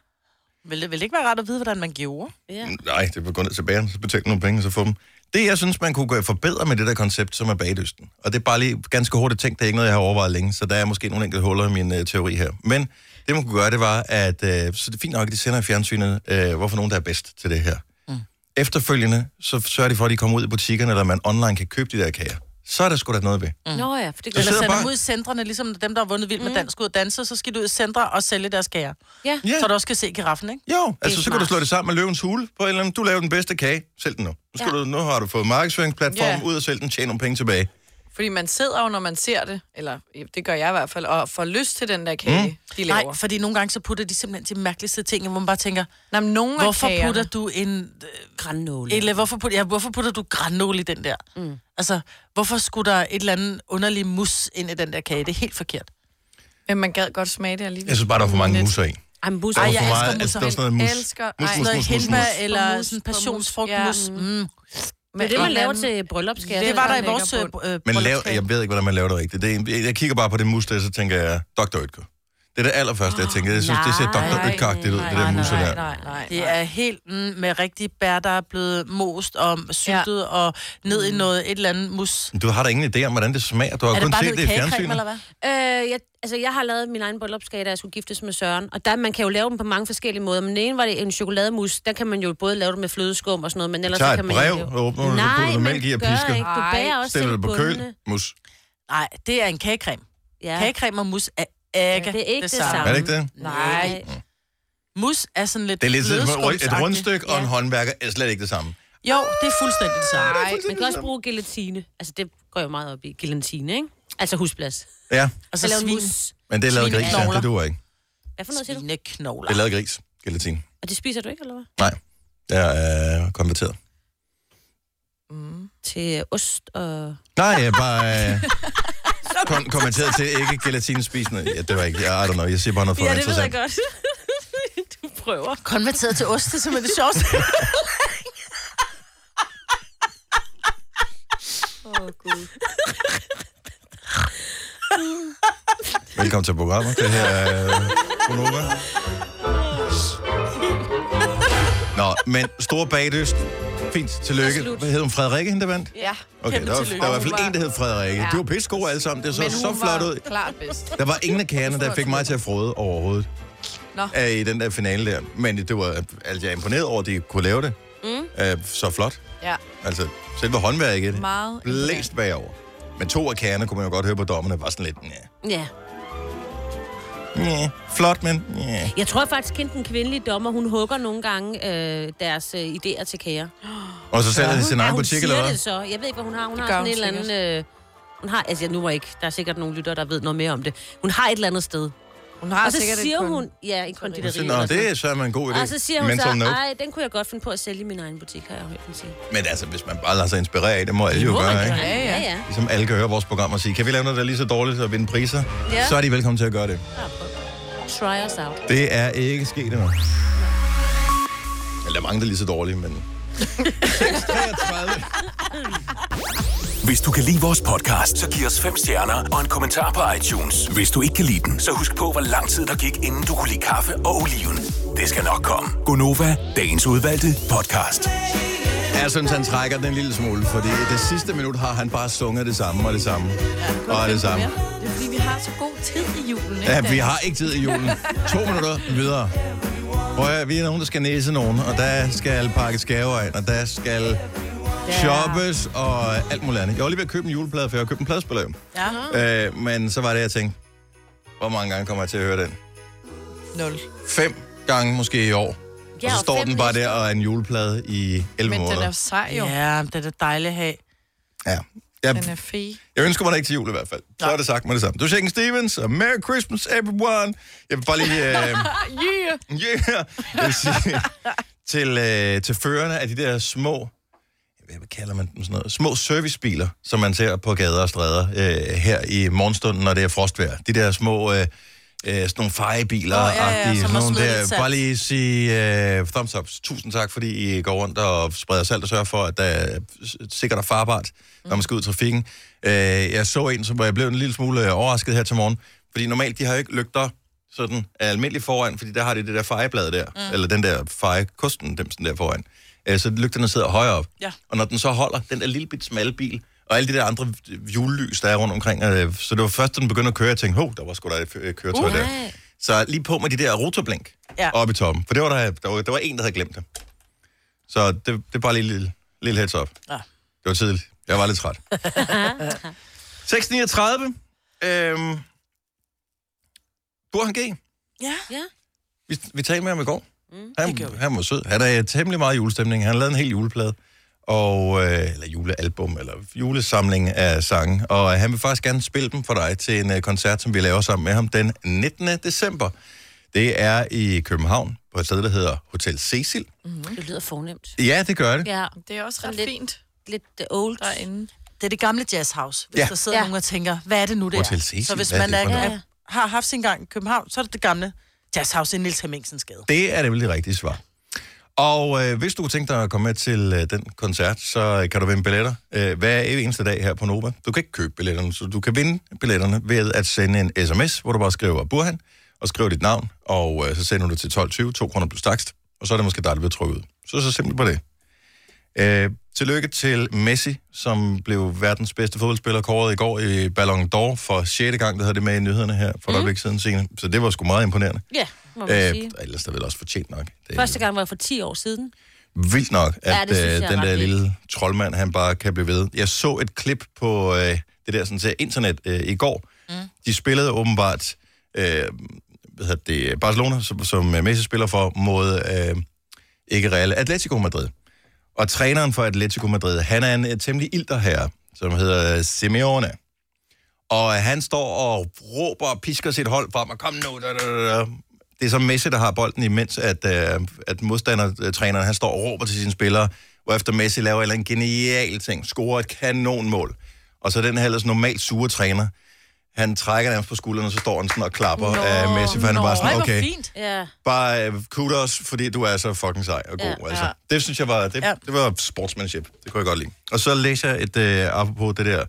[SPEAKER 2] Vil det, vil det ikke være rart at vide, hvordan man gjorde?
[SPEAKER 3] Ja.
[SPEAKER 1] Nej, det var gå ned til bageren, så betalte nogle penge, og så få dem. Det, jeg synes, man kunne gøre forbedre med det der koncept, som er bagdysten. Og det er bare lige ganske hurtigt tænkt, det er ikke noget, jeg har overvejet længe, så der er måske nogle enkelte huller i min øh, teori her. Men det, man kunne gøre, det var, at øh, så det er fint nok, at de sender i fjernsynet, øh, hvorfor nogen, der er bedst til det her. Mm. Efterfølgende, så sørger de for, at de kommer ud i butikkerne, eller man online kan købe de der kager. Så er der sgu da noget ved.
[SPEAKER 3] Mm. Nå ja, for det
[SPEAKER 1] Så
[SPEAKER 3] gør
[SPEAKER 2] Eller
[SPEAKER 1] sidder
[SPEAKER 2] sende
[SPEAKER 1] bare-
[SPEAKER 2] dem ud i centrene, ligesom dem, der har vundet vildt med dansk ud og danse, så skal du ud i centre og sælge deres kager.
[SPEAKER 3] Ja.
[SPEAKER 1] Ja.
[SPEAKER 2] Så du også kan se giraffen, ikke?
[SPEAKER 1] Jo, altså så kan du
[SPEAKER 3] smart.
[SPEAKER 1] slå det sammen med løvens hule på en eller anden. Du laver den bedste kage, sælg den nu. Nu, skal
[SPEAKER 3] Ja.
[SPEAKER 1] du, nu har du fået markedsføringsplatformen
[SPEAKER 2] Ja.
[SPEAKER 1] ud og sælg den, tjene nogle penge tilbage.
[SPEAKER 4] Fordi man sidder jo, når man ser det, eller ja, det gør jeg i hvert fald, og får lyst til den der kage, mm. de laver.
[SPEAKER 2] Nej, fordi nogle gange så putter de simpelthen de mærkeligste ting, hvor man bare tænker,
[SPEAKER 4] Nej, men nogle
[SPEAKER 2] hvorfor
[SPEAKER 4] af kagerne,
[SPEAKER 2] putter du en øh,
[SPEAKER 3] Grannåle.
[SPEAKER 2] Eller hvorfor putter, ja, hvorfor putter du granol i den der? Mm. Altså, hvorfor skulle der et eller andet underlig mus ind i den der kage? Det er helt forkert.
[SPEAKER 4] men man gad godt smage det alligevel.
[SPEAKER 1] Jeg synes bare, der er for mange
[SPEAKER 4] Lidt.
[SPEAKER 1] musser i.
[SPEAKER 3] Ej, men busser.
[SPEAKER 1] Der var
[SPEAKER 2] Ej,
[SPEAKER 1] for meget,
[SPEAKER 2] jeg elsker
[SPEAKER 1] altså, der var sådan noget mus.
[SPEAKER 4] Elsker-
[SPEAKER 1] Mus,
[SPEAKER 4] Ej,
[SPEAKER 1] mus,
[SPEAKER 2] Noget
[SPEAKER 1] mus, mus,
[SPEAKER 2] henbær
[SPEAKER 1] mus.
[SPEAKER 2] eller
[SPEAKER 4] Mus,
[SPEAKER 2] sådan
[SPEAKER 4] mus,
[SPEAKER 2] passionsfrugtmus.
[SPEAKER 4] ja.
[SPEAKER 2] Mm.
[SPEAKER 3] Det er det, man
[SPEAKER 4] Men-
[SPEAKER 3] laver til bryllupskage.
[SPEAKER 2] Det var der i
[SPEAKER 4] lækker
[SPEAKER 2] vores øh,
[SPEAKER 4] bund.
[SPEAKER 2] br- øh,
[SPEAKER 1] Men lav,
[SPEAKER 2] bryllupskage.
[SPEAKER 1] jeg ved ikke, hvordan man laver det rigtigt. Det er, jeg kigger bare på det mus der, så tænker jeg, Dr. Ytker. Det er det allerførste, jeg tænker. Jeg synes, det ser Dr.
[SPEAKER 4] Nej,
[SPEAKER 1] Ytker-agtigt ud,
[SPEAKER 3] nej,
[SPEAKER 1] det der
[SPEAKER 4] nej,
[SPEAKER 1] mus
[SPEAKER 4] nej,
[SPEAKER 1] der.
[SPEAKER 4] nej, nej,
[SPEAKER 2] Det
[SPEAKER 4] nej.
[SPEAKER 2] er helt mm, med rigtig bær, der er blevet most og syltet ja. og ned i noget et eller andet mus.
[SPEAKER 1] Du har da ingen idé om, hvordan det smager. Du har
[SPEAKER 2] Er det
[SPEAKER 1] kun
[SPEAKER 2] bare
[SPEAKER 1] set
[SPEAKER 2] noget
[SPEAKER 1] det i
[SPEAKER 2] kagecreme,
[SPEAKER 1] fjernsynet.
[SPEAKER 2] eller hvad?
[SPEAKER 3] Øh, jeg, altså, jeg har lavet min egen bryllupsgave, da jeg skulle giftes med Søren. Og der, man kan jo lave dem på mange forskellige måder. Men den ene var det en chokolademus. Der kan man jo både lave det med flødeskum og sådan noget, men ellers
[SPEAKER 1] tager
[SPEAKER 3] så
[SPEAKER 1] et
[SPEAKER 3] kan man...
[SPEAKER 1] brev
[SPEAKER 3] ikke lave-
[SPEAKER 1] og åbner det, så
[SPEAKER 3] Nej,
[SPEAKER 1] putter du
[SPEAKER 3] man
[SPEAKER 1] mælk i og
[SPEAKER 3] gør
[SPEAKER 1] pisker.
[SPEAKER 3] ikke. Du
[SPEAKER 4] Ej.
[SPEAKER 3] bager også
[SPEAKER 1] Stiller
[SPEAKER 3] selv
[SPEAKER 1] det på køl,
[SPEAKER 3] bundene.
[SPEAKER 1] mus.
[SPEAKER 2] Nej, det er en kagecreme.
[SPEAKER 3] Ja.
[SPEAKER 2] Ja. Kagecreme og mus er ikke,
[SPEAKER 3] Ja, det er ikke det
[SPEAKER 1] Er
[SPEAKER 3] samme.
[SPEAKER 1] det ikke det?
[SPEAKER 2] Nej. Mus er sådan lidt
[SPEAKER 1] Det er lidt som et
[SPEAKER 2] flødeskumsagtigt.
[SPEAKER 1] rundstykke, og en
[SPEAKER 3] Ja.
[SPEAKER 1] håndværker er slet ikke det samme.
[SPEAKER 2] Jo, det er fuldstændig det samme.
[SPEAKER 4] Nej,
[SPEAKER 3] Man kan også bruge gelatine. Altså, det går jo meget op i gelatine, ikke? Altså husplads.
[SPEAKER 1] Ja,
[SPEAKER 2] Og så
[SPEAKER 3] Så lave en
[SPEAKER 2] svin,
[SPEAKER 3] mus.
[SPEAKER 1] men det er lavet gris, ja.
[SPEAKER 2] Svineknogler.
[SPEAKER 1] Det duer ikke.
[SPEAKER 3] Hvad for noget siger du?
[SPEAKER 1] Det er
[SPEAKER 2] svineknogler.
[SPEAKER 1] lavet gris, gelatin.
[SPEAKER 3] Og det spiser du ikke, eller hvad?
[SPEAKER 1] Nej, jeg er konverteret.
[SPEAKER 3] Til ost og...
[SPEAKER 1] Nej, jeg er bare øh, kon- konverteret til ikke gelatinspisende. Ja, det var ikke, jeg, I don't know, jeg siger bare noget for ja, interessant.
[SPEAKER 3] godt. du prøver.
[SPEAKER 2] Konverteret til ost, det er simpelthen det sjoveste.
[SPEAKER 3] Åh, oh, gud.
[SPEAKER 1] Velkommen til programmet. Det her er øh, Konoba. Nå, men store bagdyst. Fint, tillykke.
[SPEAKER 3] Absolut.
[SPEAKER 1] Hvad hed hun? Frederikke, hende der vandt?
[SPEAKER 4] Ja,
[SPEAKER 1] Okay, der var, der
[SPEAKER 2] tillykke.
[SPEAKER 1] var i hvert fald en, der hed Frederikke. Ja.
[SPEAKER 4] Ja.
[SPEAKER 1] De var pissegode alle sammen. Det så
[SPEAKER 4] men
[SPEAKER 1] så
[SPEAKER 4] hun
[SPEAKER 1] flot
[SPEAKER 4] var
[SPEAKER 1] ud.
[SPEAKER 4] klart bedst.
[SPEAKER 1] Der var ingen af kagerne, der fik mig til at frode overhovedet.
[SPEAKER 4] Nå.
[SPEAKER 1] Nå. I den der finale der. Men det var, altså, jeg er imponeret over, at de kunne lave det. Mm. Øh, så flot.
[SPEAKER 4] Ja,
[SPEAKER 1] Altså, selve håndværket. i det.
[SPEAKER 4] Meget
[SPEAKER 1] Blæst bagover. Men to af kagerne, kunne man jo godt høre på dommerne, var sådan lidt, ja.
[SPEAKER 3] Ja.
[SPEAKER 1] Næh. Flot, men... Næh.
[SPEAKER 3] Jeg tror faktisk, kendt den kvindelige dommer, hun hugger nogle gange øh, deres øh, idéer til kager.
[SPEAKER 1] Og så sælger de sin egen
[SPEAKER 3] hun
[SPEAKER 1] butik,
[SPEAKER 3] siger
[SPEAKER 1] eller hvad?
[SPEAKER 3] det så. Jeg ved ikke, hvad hun har. Hun har
[SPEAKER 4] gør
[SPEAKER 3] sådan
[SPEAKER 4] hun
[SPEAKER 3] et eller andet... Øh, hun har, altså nu må jeg ikke, der er sikkert nogle lyttere, der ved noget mere om det. Hun har et eller andet sted.
[SPEAKER 4] Hun har
[SPEAKER 3] Og så
[SPEAKER 4] sikkert et
[SPEAKER 3] siger
[SPEAKER 4] kun-
[SPEAKER 3] hun, ja, en
[SPEAKER 1] Hun
[SPEAKER 3] konditori.
[SPEAKER 1] siger, Nå,
[SPEAKER 3] eller sådan.
[SPEAKER 1] det er så en god idé.
[SPEAKER 3] Og så siger hun
[SPEAKER 1] Mental
[SPEAKER 3] så,
[SPEAKER 1] note.
[SPEAKER 3] nej, den kunne jeg godt finde på at sælge i min egen butik, har jeg hørt hende sige.
[SPEAKER 1] Men altså, hvis man bare lader sig inspirere af, det må alle jo
[SPEAKER 3] Må man
[SPEAKER 1] gøre,
[SPEAKER 3] gerne.
[SPEAKER 1] ikke?
[SPEAKER 4] ikke?
[SPEAKER 3] Ja,
[SPEAKER 4] Ja,
[SPEAKER 3] ja.
[SPEAKER 1] Ligesom alle kan høre vores program og sige, kan vi lave noget, der er lige så dårligt at vinde priser?
[SPEAKER 3] Ja.
[SPEAKER 1] Så er de velkommen til at gøre det.
[SPEAKER 3] Try us out.
[SPEAKER 1] Det er ikke sket endnu. Eller der er mange, der er lige så dårlige, men... 6.33.
[SPEAKER 5] Hvis du kan lide vores podcast, så giv os fem stjerner og en kommentar på iTunes. Hvis du ikke kan lide den, så husk på, hvor lang tid der gik, inden du kunne lide kaffe og oliven. Det skal nok komme. Gonova, dagens udvalgte podcast.
[SPEAKER 1] Jeg synes, han trækker den en lille smule, fordi det sidste minut har han bare sunget det samme og det samme. og det samme.
[SPEAKER 4] Det er fordi, vi har så god tid i julen, ikke?
[SPEAKER 1] Ja, vi har ikke tid i julen. To minutter videre. Prøv at, vi er nogen, der skal næse nogen, og der skal pakkes gaver ind, og der skal shoppes og alt muligt andet. Jeg var lige ved at købe en juleplade, for jeg har købt en pladespiller.
[SPEAKER 2] Ja.
[SPEAKER 1] Øh, men så var det, jeg tænkte, hvor mange gange kommer jeg til at høre den?
[SPEAKER 4] Nul.
[SPEAKER 1] Fem gange måske i år. Og
[SPEAKER 3] Ja,
[SPEAKER 1] så
[SPEAKER 3] og
[SPEAKER 1] står
[SPEAKER 3] fem
[SPEAKER 1] den bare
[SPEAKER 3] næste
[SPEAKER 1] der og er en juleplade i 11
[SPEAKER 4] Men den er
[SPEAKER 1] måneder.
[SPEAKER 4] sej jo.
[SPEAKER 2] Ja, det er da dejligt at have.
[SPEAKER 1] Ja. Jeg,
[SPEAKER 4] Den er fed.
[SPEAKER 1] Jeg ønsker mig det ikke til jul i hvert fald. Så er det sagt med det samme. Du Shaken Stevens, og Merry Christmas everyone. Jeg vil bare lige... Øh, yeah! Yeah! Jeg vil sige, til, øh, til førerne af de der små... Hvad kalder man dem sådan noget? Små servicebiler, som man ser på gader og stræder øh, her i morgenstunden, når det er frostvejr. De der små... Øh, øh, sådan nogle fejebiler,
[SPEAKER 2] Åh, ja, ja,
[SPEAKER 1] agtige,
[SPEAKER 2] som
[SPEAKER 1] sådan
[SPEAKER 2] har
[SPEAKER 1] nogle
[SPEAKER 2] smidt
[SPEAKER 1] der.
[SPEAKER 2] lidt salt.
[SPEAKER 1] Bare lige sige øh, thumbs up. Tusind tak, fordi I går rundt og spreder salt og sørger for, at der er sikkert og farbart, når man skal ud i trafikken. Øh, jeg så en, som hvor jeg blev en lille smule øh, overrasket her til morgen, fordi normalt, de har jo ikke lygter sådan almindeligt foran, fordi der har de det der fejeblad der, mm. eller den der fejekosten, dem sådan der foran. Øh, så lygterne sidder højere op.
[SPEAKER 2] Ja.
[SPEAKER 1] Og når den så holder, den der lille bit smalle bil, og alle de der andre julelys, der er rundt omkring, øh, så det var først, da den begyndte at køre, jeg tænkte, hov, der var sgu da et øh, køretøj
[SPEAKER 2] Uh.
[SPEAKER 1] der.
[SPEAKER 3] Nej.
[SPEAKER 1] Så lige på med de der rotorblink ja.
[SPEAKER 2] Ja.
[SPEAKER 1] oppe i toppen. For det var der, der, var, der var en, der havde glemt det. Så det, det er bare lige en lille, lille heads up.
[SPEAKER 2] Ja.
[SPEAKER 1] Det var tidligt. Jeg var lidt træt. 6.39. Øhm, Burhan G.
[SPEAKER 2] Ja.
[SPEAKER 3] Ja.
[SPEAKER 1] Vi, vi talte med ham i går. Mm, han, han var sød. Han er i temmelig meget julestemning. Han lavede en hel juleplade. Og, øh, eller julealbum, eller julesamling af sange. Og øh, han vil faktisk gerne spille dem for dig til en øh, koncert, som vi laver sammen med ham den 19. december. Det er i København, på et sted, der hedder Hotel Cecil.
[SPEAKER 4] Mm.
[SPEAKER 3] Det lyder fornemt.
[SPEAKER 1] Ja, det gør det.
[SPEAKER 3] Ja,
[SPEAKER 4] Det er også ret
[SPEAKER 3] Lidt.
[SPEAKER 4] fint
[SPEAKER 3] lidt øh, old.
[SPEAKER 4] derinde.
[SPEAKER 2] Det er det gamle jazzhouse, hvis
[SPEAKER 1] Ja.
[SPEAKER 2] ja. der sidder
[SPEAKER 3] Ja.
[SPEAKER 2] ja. nogen og tænker, hvad er det nu, det
[SPEAKER 1] Hotel
[SPEAKER 2] er?
[SPEAKER 1] Cecil,
[SPEAKER 2] Så hvis
[SPEAKER 1] hvad er
[SPEAKER 2] man
[SPEAKER 1] det
[SPEAKER 2] er,
[SPEAKER 1] for
[SPEAKER 3] noget?
[SPEAKER 2] er, har haft sin gang i København, så er det det gamle jazzhouse i Niels Hemmingsens gade.
[SPEAKER 1] Det er nemlig det rigtige svar. Og øh, hvis du kunne tænke dig at komme med til øh, den koncert, så øh, kan du vinde billetter øh, hver eneste dag her på Nova. Du kan ikke købe billetterne, så du kan vinde billetterne ved at sende en sms, hvor du bare skriver Burhan, og skriver dit navn, og øh, så sender du det til 12.20, 2 kroner plus takst, og så er det måske dig, der bliver trykket ud. Så så simpelt på det. Øh, tillykke til Messi, som blev verdens bedste fodboldspiller kåret i går i Ballon d'Or for 6. gang, det havde det med i nyhederne her for et øjeblik siden. Signe. Så det var sgu meget imponerende.
[SPEAKER 3] Ja, må man
[SPEAKER 1] Øh,
[SPEAKER 3] sige.
[SPEAKER 1] ellers er det vel også fortjent nok. Det er
[SPEAKER 3] Første gang var for 10 år siden.
[SPEAKER 1] vildt nok, at
[SPEAKER 3] Ja, det synes
[SPEAKER 1] ja,
[SPEAKER 3] jeg
[SPEAKER 1] øh,
[SPEAKER 3] er
[SPEAKER 1] den
[SPEAKER 3] ret
[SPEAKER 1] der
[SPEAKER 3] vildt.
[SPEAKER 1] lille troldmand, han bare kan blive ved. Jeg så et klip på øh, det der sådan, til internet øh, i går. Mm. De spillede åbenbart øh, hvad hedder det, Barcelona, som, som øh, Messi spiller for, mod øh, ikke Real, Atletico Madrid. Og træneren for Atletico Madrid, han er en øh, temmelig ilter herre, som hedder Simeone. Og øh, han står og råber og pisker sit hold frem, og kom nu, da, da, da, da. Det er så Messi, der har bolden, imens at, øh, at modstandertræneren, han står og råber til sine spillere, efter Messi laver en eller anden genial ting, scorer et kanonmål. Og så den her ellers normalt sure træner, han trækker nærmest på skuldrene, og så står han sådan og klapper
[SPEAKER 4] Nå,
[SPEAKER 1] af Messi, for han er bare
[SPEAKER 2] Ej,
[SPEAKER 1] sådan,
[SPEAKER 2] hvor
[SPEAKER 1] okay,
[SPEAKER 2] fint.
[SPEAKER 3] Ja.
[SPEAKER 1] bare øh, kudos, fordi du er så fucking sej og god. Ja,
[SPEAKER 3] Ja.
[SPEAKER 1] altså.
[SPEAKER 4] Ja.
[SPEAKER 1] Det synes jeg var, det, ja.
[SPEAKER 2] Ja.
[SPEAKER 1] det var sportsmanship. Det kunne jeg godt lide. Og så læser jeg et, øh, apropos det der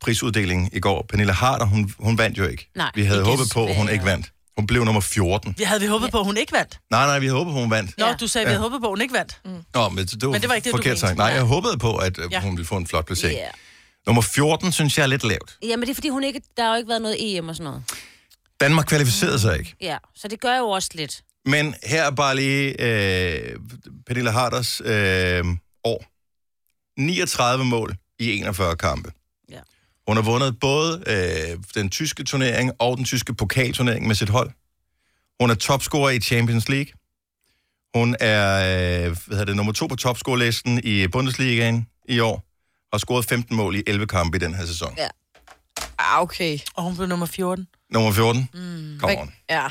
[SPEAKER 1] prisuddeling i går. Pernille Harder, hun, hun vandt jo ikke.
[SPEAKER 3] Nej,
[SPEAKER 1] vi havde
[SPEAKER 3] ikke
[SPEAKER 1] håbet på, at hun
[SPEAKER 3] desværre.
[SPEAKER 1] ikke vandt. Hun blev nummer 14.
[SPEAKER 2] Vi havde vi håbet på, at hun ikke vandt.
[SPEAKER 1] Nej, nej, vi havde håbet på, hun vandt.
[SPEAKER 2] Nå,
[SPEAKER 3] Ja.
[SPEAKER 2] ja. du sagde, at vi havde håbet på, at hun ikke vandt.
[SPEAKER 1] Nå, men det, det var,
[SPEAKER 2] Men det var ikke det, du
[SPEAKER 1] forkert
[SPEAKER 2] mente.
[SPEAKER 1] sagt. Nej, jeg håbede på, at øh,
[SPEAKER 2] Ja.
[SPEAKER 1] hun ville få en flot placering.
[SPEAKER 3] Yeah.
[SPEAKER 1] Nummer 14 synes jeg er lidt lavt.
[SPEAKER 3] Ja, men det er fordi, hun ikke, der har jo ikke været noget EM og sådan noget.
[SPEAKER 1] Danmark kvalificerede sig ikke.
[SPEAKER 3] Ja, så det gør jo også lidt.
[SPEAKER 1] Men her er bare lige øh, Pernille Harders øh, år. 39 mål i 41 kampe.
[SPEAKER 3] Ja.
[SPEAKER 1] Hun har vundet både øh, den tyske turnering og den tyske pokalturnering med sit hold. Hun er topscorer i Champions League. Hun er øh, hvad hedder det, nummer to på topscorelisten i Bundesligaen i år. Og har scoret 15 mål i 11 kampe i den her sæson.
[SPEAKER 3] Ja.
[SPEAKER 4] Ah, okay.
[SPEAKER 2] Og hun blev nummer 14.
[SPEAKER 1] Nummer 14. Mm. Kom on.
[SPEAKER 4] Ja.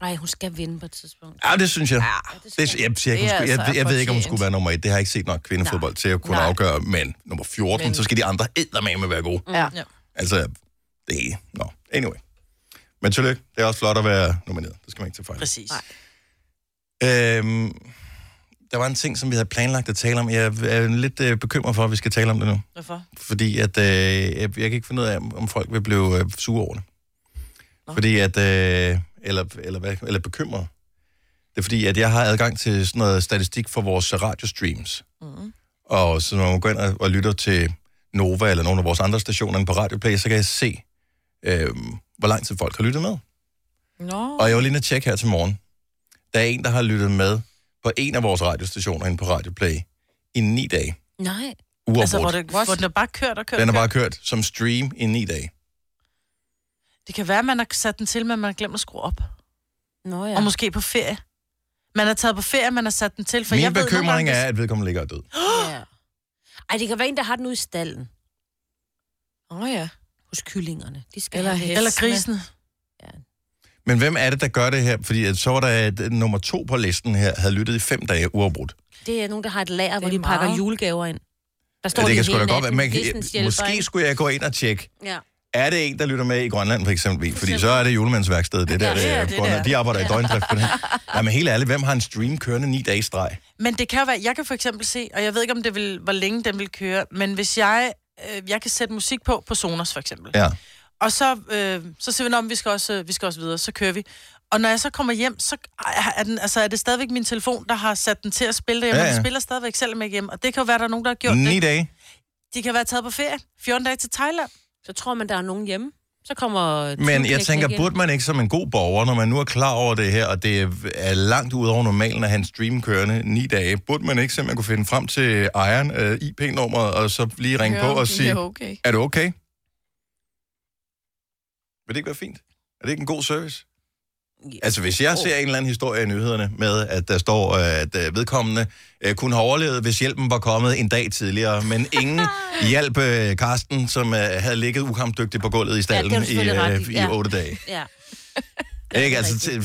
[SPEAKER 3] Nej, hun skal vinde på et tidspunkt.
[SPEAKER 1] Ja, det synes jeg.
[SPEAKER 3] skal
[SPEAKER 1] Det, jeg, siger, ikke, hun
[SPEAKER 4] Det er
[SPEAKER 1] skulle, jeg,
[SPEAKER 4] altså
[SPEAKER 1] jeg ved ikke, om hun
[SPEAKER 4] fortjent.
[SPEAKER 1] skulle være nummer et. Det har jeg ikke set nok kvindefodbold til at kunne
[SPEAKER 3] Nej.
[SPEAKER 1] afgøre. Men nummer 14, men... så skal de andre eddermame være gode.
[SPEAKER 4] Ja.
[SPEAKER 2] Ja.
[SPEAKER 1] Altså, det er... Nå, anyway. Men tillykke. Det er også flot at være nomineret. Det skal man ikke tage fejl.
[SPEAKER 2] Præcis. Nej.
[SPEAKER 1] Øhm, der var en ting, som vi havde planlagt at tale om. Jeg er lidt øh, bekymret for, at vi skal tale om det nu.
[SPEAKER 2] Hvorfor?
[SPEAKER 1] Fordi at, øh, jeg, jeg kan ikke finde ud af, om om folk vil blive øh, sure over det. Nå. Fordi at... Øh, eller, eller, hvad, eller bekymret. Det er fordi, at jeg har adgang til sådan noget statistik for vores radiostreams. Mm. Og så når man går ind og, og lytter til Nova eller nogle af vores andre stationer inde på Radioplay, så kan jeg se, øh, hvor lang tid folk har lyttet med.
[SPEAKER 4] Nå.
[SPEAKER 1] Og jeg var lige nødt til at tjekke her til morgen. Der er en, der har lyttet med på en af vores radiostationer inde på Radio Play i ni dage.
[SPEAKER 3] Nej.
[SPEAKER 1] Uafbrudt.
[SPEAKER 2] Altså, hvor,
[SPEAKER 1] Altså,
[SPEAKER 2] det, hvor den er bare kørt og kørt.
[SPEAKER 1] den
[SPEAKER 2] og
[SPEAKER 1] har bare
[SPEAKER 2] kørt.
[SPEAKER 1] kørt som stream i ni dage.
[SPEAKER 2] Det kan være, at man har sat den til, men man har glemt at skrue op.
[SPEAKER 3] Nå ja.
[SPEAKER 2] Og måske på ferie. Man har taget på ferie, man har sat den til, for
[SPEAKER 1] Min
[SPEAKER 2] jeg ved nogle
[SPEAKER 1] bekymring
[SPEAKER 2] gange,
[SPEAKER 1] er, at vedkommende ligger og er død.
[SPEAKER 3] ja. Ej, det kan være en, der har den ude i stallen.
[SPEAKER 4] Åh oh, ja.
[SPEAKER 3] Hos kyllingerne. De skal
[SPEAKER 4] Eller
[SPEAKER 3] have den.
[SPEAKER 4] hest.
[SPEAKER 2] Eller grisen.
[SPEAKER 1] Men hvem er det, der gør det her? Fordi at så var der at nummer to på listen her, havde lyttet i fem dage uafbrudt.
[SPEAKER 3] Det er nogen, der har et lager, hvor
[SPEAKER 4] er
[SPEAKER 3] de pakker
[SPEAKER 4] meget.
[SPEAKER 3] julegaver ind. Der
[SPEAKER 1] Ja, det kan
[SPEAKER 3] hele
[SPEAKER 1] sgu da godt være.
[SPEAKER 3] natten.
[SPEAKER 1] Man kan,
[SPEAKER 3] Det er sådan en
[SPEAKER 1] måske
[SPEAKER 3] hjælper,
[SPEAKER 1] skulle jeg gå ind og tjekke,
[SPEAKER 3] ikke? Ja.
[SPEAKER 1] er det en, der lytter med i Grønland, for eksempel? Fordi så er det julemandsværkstedet, det der.
[SPEAKER 2] Ja, det er
[SPEAKER 1] øh,
[SPEAKER 2] det
[SPEAKER 1] Grønland.
[SPEAKER 2] der.
[SPEAKER 1] De arbejder i døgndrift på det her. Nej, men helt ærligt, hvem har en stream kørende ni dage i streg?
[SPEAKER 2] Men det kan jo være, jeg kan for eksempel se, og jeg ved ikke, om det vil, hvor længe den vil køre, men hvis jeg, øh, jeg kan sætte musik på, på Sonos for eksempel,
[SPEAKER 1] Ja.
[SPEAKER 2] og så, øh, så siger vi, om vi skal, også, øh, vi skal også videre, så kører vi. Og når jeg så kommer hjem, så er, den, altså, er det stadigvæk min telefon, der har sat den til at spille derhjemme,
[SPEAKER 1] Ja,
[SPEAKER 2] ja, ja.
[SPEAKER 1] ja.
[SPEAKER 2] den spiller stadigvæk selvom jeg ikke er hjemme. Og det kan jo være, der er nogen, der har gjort
[SPEAKER 1] Ni
[SPEAKER 2] det.
[SPEAKER 1] dage.
[SPEAKER 2] De kan være taget på ferie, 14 dage til Thailand.
[SPEAKER 3] Så tror man, der er nogen hjemme. Så kommer...
[SPEAKER 1] Men jeg
[SPEAKER 3] tyveknægten
[SPEAKER 1] tænker,
[SPEAKER 3] igen.
[SPEAKER 1] burde man ikke som en god borger, når man nu er klar over det her, og det er langt ud over normalen at have en stream kørende ni dage, burde man ikke simpelthen kunne finde frem til ejeren, øh, IP-nummeret, og så lige ringe på
[SPEAKER 4] Høre, om
[SPEAKER 1] og
[SPEAKER 4] de
[SPEAKER 1] sige,
[SPEAKER 4] er okay.
[SPEAKER 1] er du okay? Vil det ikke være fint? Er det ikke en god service? Altså, hvis jeg ser en eller anden historie i nyhederne med, at der står, øh, at øh, vedkommende øh, kunne have overlevet, hvis hjælpen var kommet en dag tidligere, men ingen hjalp øh, Karsten, som øh, havde ligget ukampdygtig på gulvet i
[SPEAKER 3] det har
[SPEAKER 1] stallen
[SPEAKER 3] du
[SPEAKER 1] i,
[SPEAKER 3] selvfølgelig ret
[SPEAKER 1] øh,
[SPEAKER 3] i,
[SPEAKER 1] i
[SPEAKER 3] ja.
[SPEAKER 1] otte dage.
[SPEAKER 3] Ja.
[SPEAKER 1] Ikke? Altså, til,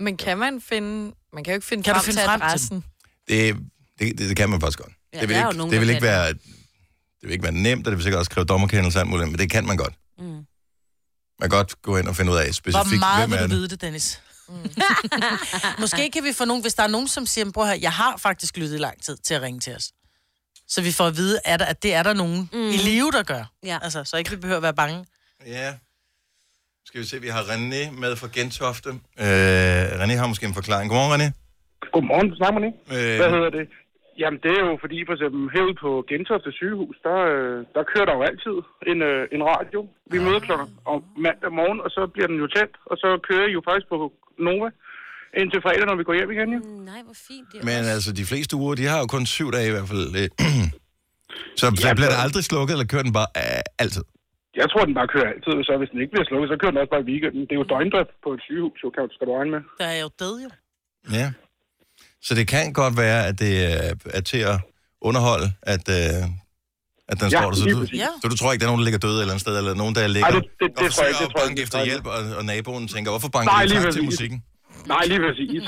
[SPEAKER 4] Men kan man finde... Man kan jo ikke finde
[SPEAKER 2] Kan du
[SPEAKER 4] frem
[SPEAKER 2] finde
[SPEAKER 4] til
[SPEAKER 2] frem til
[SPEAKER 4] adressen.
[SPEAKER 1] det, det, det, det kan man faktisk godt.
[SPEAKER 3] Ja,
[SPEAKER 1] det vil
[SPEAKER 3] der er
[SPEAKER 1] ikke,
[SPEAKER 3] jo nogen,
[SPEAKER 1] det
[SPEAKER 3] der
[SPEAKER 1] vil
[SPEAKER 3] kan
[SPEAKER 1] ikke
[SPEAKER 3] det.
[SPEAKER 1] være, det vil ikke være nemt, og det vil sikkert også kræve dommerkendelse og alt muligt, andet, men det kan man godt. Mm. Man kan godt gå ind og finde ud af specifikt,
[SPEAKER 2] Hvor meget
[SPEAKER 1] hvem
[SPEAKER 2] vil
[SPEAKER 1] er
[SPEAKER 2] du
[SPEAKER 1] det.
[SPEAKER 2] vide det, Dennis? Mm. Måske kan vi få nogen, hvis der er nogen, som siger, bror her, jeg har faktisk lyttet i lang tid til at ringe til os. Så vi får at vide, er der, at det er der nogen mm. i live, der gør.
[SPEAKER 3] Ja.
[SPEAKER 2] Altså, så ikke vi behøver at være bange.
[SPEAKER 1] Ja. Skal vi se, vi har René med fra Gentofte. Øh, René har måske en forklaring. Godmorgen, René.
[SPEAKER 6] Godmorgen, snakker man ikke?
[SPEAKER 1] Øh.
[SPEAKER 6] Øh... Hvad hedder det? Jamen, det er jo fordi, for eksempel herude på Gentofte sygehus, der, øh, der kører der jo altid en, øh, en radio. Vi ja. møder klokken om mandag morgen, og så bliver den jo tændt, og så kører I jo faktisk på Nova indtil fredag, når vi går hjem igen, jo.
[SPEAKER 3] Nej, hvor fint det er.
[SPEAKER 1] Men
[SPEAKER 3] også.
[SPEAKER 1] altså, de fleste uger, de har jo kun syv dage i hvert fald. Øh, Så ja, bliver det aldrig slukket, eller kører den bare øh, altid?
[SPEAKER 6] Jeg tror, den bare kører altid, så hvis den ikke bliver slukket, så kører den også bare i weekenden. Det er jo døgndrift på et sygehus, jo, kan du skal du regne med.
[SPEAKER 2] Der er jo død, jo.
[SPEAKER 1] Ja. Så det kan godt være, at det øh, er til at underholde, at, øh, at den
[SPEAKER 6] Ja,
[SPEAKER 1] står der. Så
[SPEAKER 6] lige
[SPEAKER 1] du,
[SPEAKER 6] præcis.
[SPEAKER 2] Ja.
[SPEAKER 1] så du tror ikke, der er nogen, der ligger døde et eller andet sted, eller nogen, der ligger
[SPEAKER 6] Ej, det- det- det
[SPEAKER 1] og
[SPEAKER 6] tror jeg
[SPEAKER 1] forsøger
[SPEAKER 6] ikke, det
[SPEAKER 1] at
[SPEAKER 6] tror jeg
[SPEAKER 1] banke
[SPEAKER 6] ikke,
[SPEAKER 1] efter
[SPEAKER 6] det tror jeg
[SPEAKER 1] hjælp, og, og naboen tænker, hvorfor banker
[SPEAKER 6] Nej,
[SPEAKER 1] du
[SPEAKER 6] lige
[SPEAKER 1] tak til
[SPEAKER 6] præcis.
[SPEAKER 1] musikken?
[SPEAKER 6] Nej, lige præcis.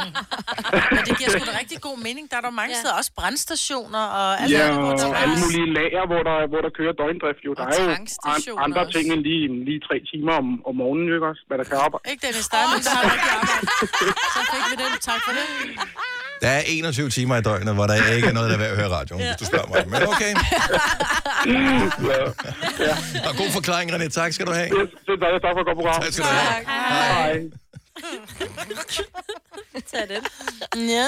[SPEAKER 2] Men det giver sgu da rigtig god mening. Der er der mange
[SPEAKER 3] Ja.
[SPEAKER 2] steder, også brandstationer og alt
[SPEAKER 6] Ja,
[SPEAKER 2] andet,
[SPEAKER 6] og
[SPEAKER 2] hvor der Altså, er-
[SPEAKER 6] alle mulige lager, hvor der, hvor der kører døgndrift. Jo. Der er jo an-
[SPEAKER 4] tankstationer
[SPEAKER 6] andre
[SPEAKER 4] også.
[SPEAKER 6] ting end lige, lige tre timer om, om morgenen, jo, ikke også? Hvad der kan arbejde.
[SPEAKER 2] Ikke Dennis, der er nogen, der har rigtig arbejde. Så fik vi den. Tak for det.
[SPEAKER 1] Der er 21 timer i døgnet, hvor der ikke er noget, der er værd at høre radioen, hvis du spørger mig. Men okay.
[SPEAKER 6] Ja.
[SPEAKER 1] Og god forklaring, René. Tak skal du have.
[SPEAKER 6] Det, det er dejligt. Tak for at gå på program.
[SPEAKER 1] Tak skal du have.
[SPEAKER 6] Hej.
[SPEAKER 3] Tag den.
[SPEAKER 2] Ja.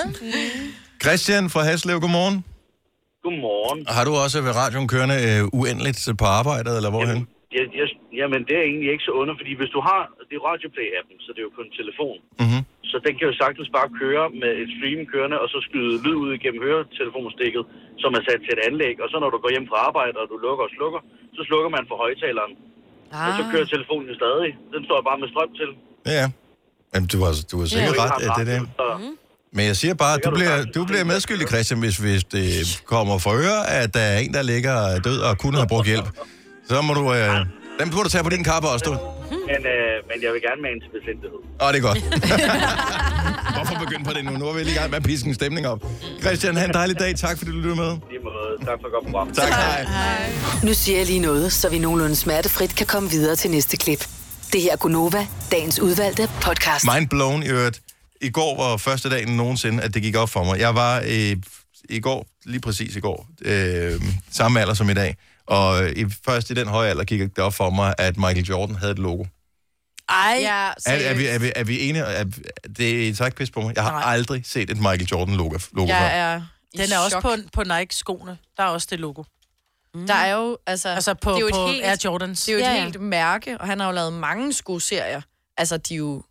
[SPEAKER 1] Christian fra Haslev, godmorgen.
[SPEAKER 7] Godmorgen.
[SPEAKER 1] Og Har du også ved radioen kørende øh, uendeligt på arbejdet, eller hvorhen?
[SPEAKER 7] Jeg,
[SPEAKER 1] Mhm.
[SPEAKER 7] jeg, jamen, det er egentlig ikke så under, fordi hvis du har det er radioplay-appen, så det er jo på en telefon, mm-hmm. Så den kan jo sagtens bare køre med et stream kørende, og så skyde lyd ud igennem høretelefonsstikket, som er sat til et anlæg. Og så når du går hjem fra arbejde, og du lukker og slukker, så slukker man for højtaleren. Ah. Og så kører telefonen jo stadig. Den står bare med strøm til.
[SPEAKER 1] Ja, ja. Jamen, du har, du har sikkert
[SPEAKER 7] Ja.
[SPEAKER 1] ret, at det er det.
[SPEAKER 7] Så,
[SPEAKER 1] Men jeg siger bare, at du bliver, du bliver medskyldig, Christian, hvis, hvis det kommer for øre, at der er en, der ligger død og kunne have brugt hjælp. Så må du... Øh, dem må du tage på din kappe også, du.
[SPEAKER 7] men, øh, men jeg vil gerne med en til besindighed.
[SPEAKER 1] Åh, det er godt. Hvorfor begynde på det nu? Nu er vi lige i gang med at piske en stemning op. Christian, have en dejlig dag. Tak, fordi du lyttede med.
[SPEAKER 7] Lige måde. Tak for at komme frem.
[SPEAKER 1] Tak, hej.
[SPEAKER 8] Nu siger jeg lige noget, så vi nogenlunde smertefrit kan komme videre til næste klip. Det her er Gunova, dagens udvalgte podcast.
[SPEAKER 1] Mind blown i øvrigt. I går var første dagen nogensinde, at det gik op for mig. Jeg var øh, i går, lige præcis i går, øh, samme alder som i dag. Og øh, i- først i den høje alder gik det op for mig, at Michael Jordan havde et logo.
[SPEAKER 2] Ej,
[SPEAKER 4] Ja,
[SPEAKER 1] Er, er, vi, er, vi, er vi enige? Er, det er tak pis på mig. Jeg har
[SPEAKER 2] Nej.
[SPEAKER 1] aldrig set et Michael Jordan logo, logo
[SPEAKER 4] jeg
[SPEAKER 1] før.
[SPEAKER 4] er i
[SPEAKER 2] den er også
[SPEAKER 4] chok.
[SPEAKER 2] på, på Nike-skoene. Der er også det logo.
[SPEAKER 4] Der er jo, altså,
[SPEAKER 2] Altså på,
[SPEAKER 4] det er jo et
[SPEAKER 2] på
[SPEAKER 4] helt-
[SPEAKER 2] Air Jordans.
[SPEAKER 4] det er jo et
[SPEAKER 3] Ja,
[SPEAKER 4] ja,
[SPEAKER 3] ja.
[SPEAKER 4] ja. helt mærke, og han har jo lavet mange skoserier. Altså, de er jo, de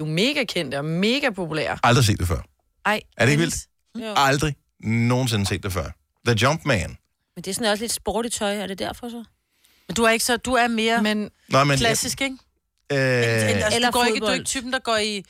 [SPEAKER 4] er jo mega kendte og mega populære.
[SPEAKER 1] Aldrig set det før.
[SPEAKER 4] Ej,
[SPEAKER 1] Er det ikke
[SPEAKER 4] Dennis. Jo.
[SPEAKER 1] Aldrig nogensinde set det før. The Jumpman.
[SPEAKER 3] Men det er sådan også lidt sportigt tøj, er det derfor så?
[SPEAKER 2] Men du er ikke så... Du er mere men,
[SPEAKER 4] Men
[SPEAKER 1] Nå, men,
[SPEAKER 2] klassisk, ikke?
[SPEAKER 1] Øh,
[SPEAKER 2] Øh, altså,
[SPEAKER 3] Eller
[SPEAKER 2] du, går ikke, du er
[SPEAKER 3] fodbold.
[SPEAKER 2] ikke typen, der går i...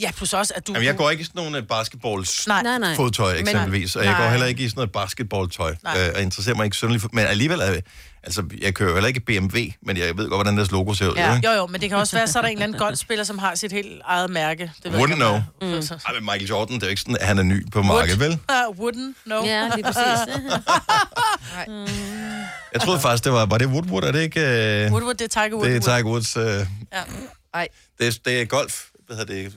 [SPEAKER 2] Ja, plus også, at du...
[SPEAKER 1] jamen, jeg går ikke i sådan nogle øh, basketballs
[SPEAKER 2] Nej,
[SPEAKER 3] Nej, nej.
[SPEAKER 1] fodtøj eksempelvis, og jeg går heller ikke i sådan noget basketballtøj,
[SPEAKER 2] Nej.
[SPEAKER 1] øh, og interesserer mig ikke synderligt for, men alligevel, er, altså, jeg kører jo heller ikke BMW, men jeg ved godt, hvordan deres logo ser ud, ja.
[SPEAKER 4] Ja.
[SPEAKER 1] ikke?
[SPEAKER 2] Jo, jo, men det kan også være, så er der en eller anden golfspiller, som har sit helt eget mærke. Det
[SPEAKER 1] Wouldn't
[SPEAKER 2] ikke, om
[SPEAKER 1] know.
[SPEAKER 2] jeg- Så-
[SPEAKER 1] Ej, men Michael Jordan, det er jo ikke sådan, at han er ny på markedet, vel?
[SPEAKER 2] Ah, wouldn't know.
[SPEAKER 3] Ja, lige præcis.
[SPEAKER 1] Jeg troede faktisk, det var, var det Woodward, er det ikke? Øh, Woodward.
[SPEAKER 2] Woodward, det er Tiger Woods.
[SPEAKER 1] Det er Tiger Woods, øh,
[SPEAKER 4] Ej,
[SPEAKER 1] det, er, det er golf, hvad hedder det,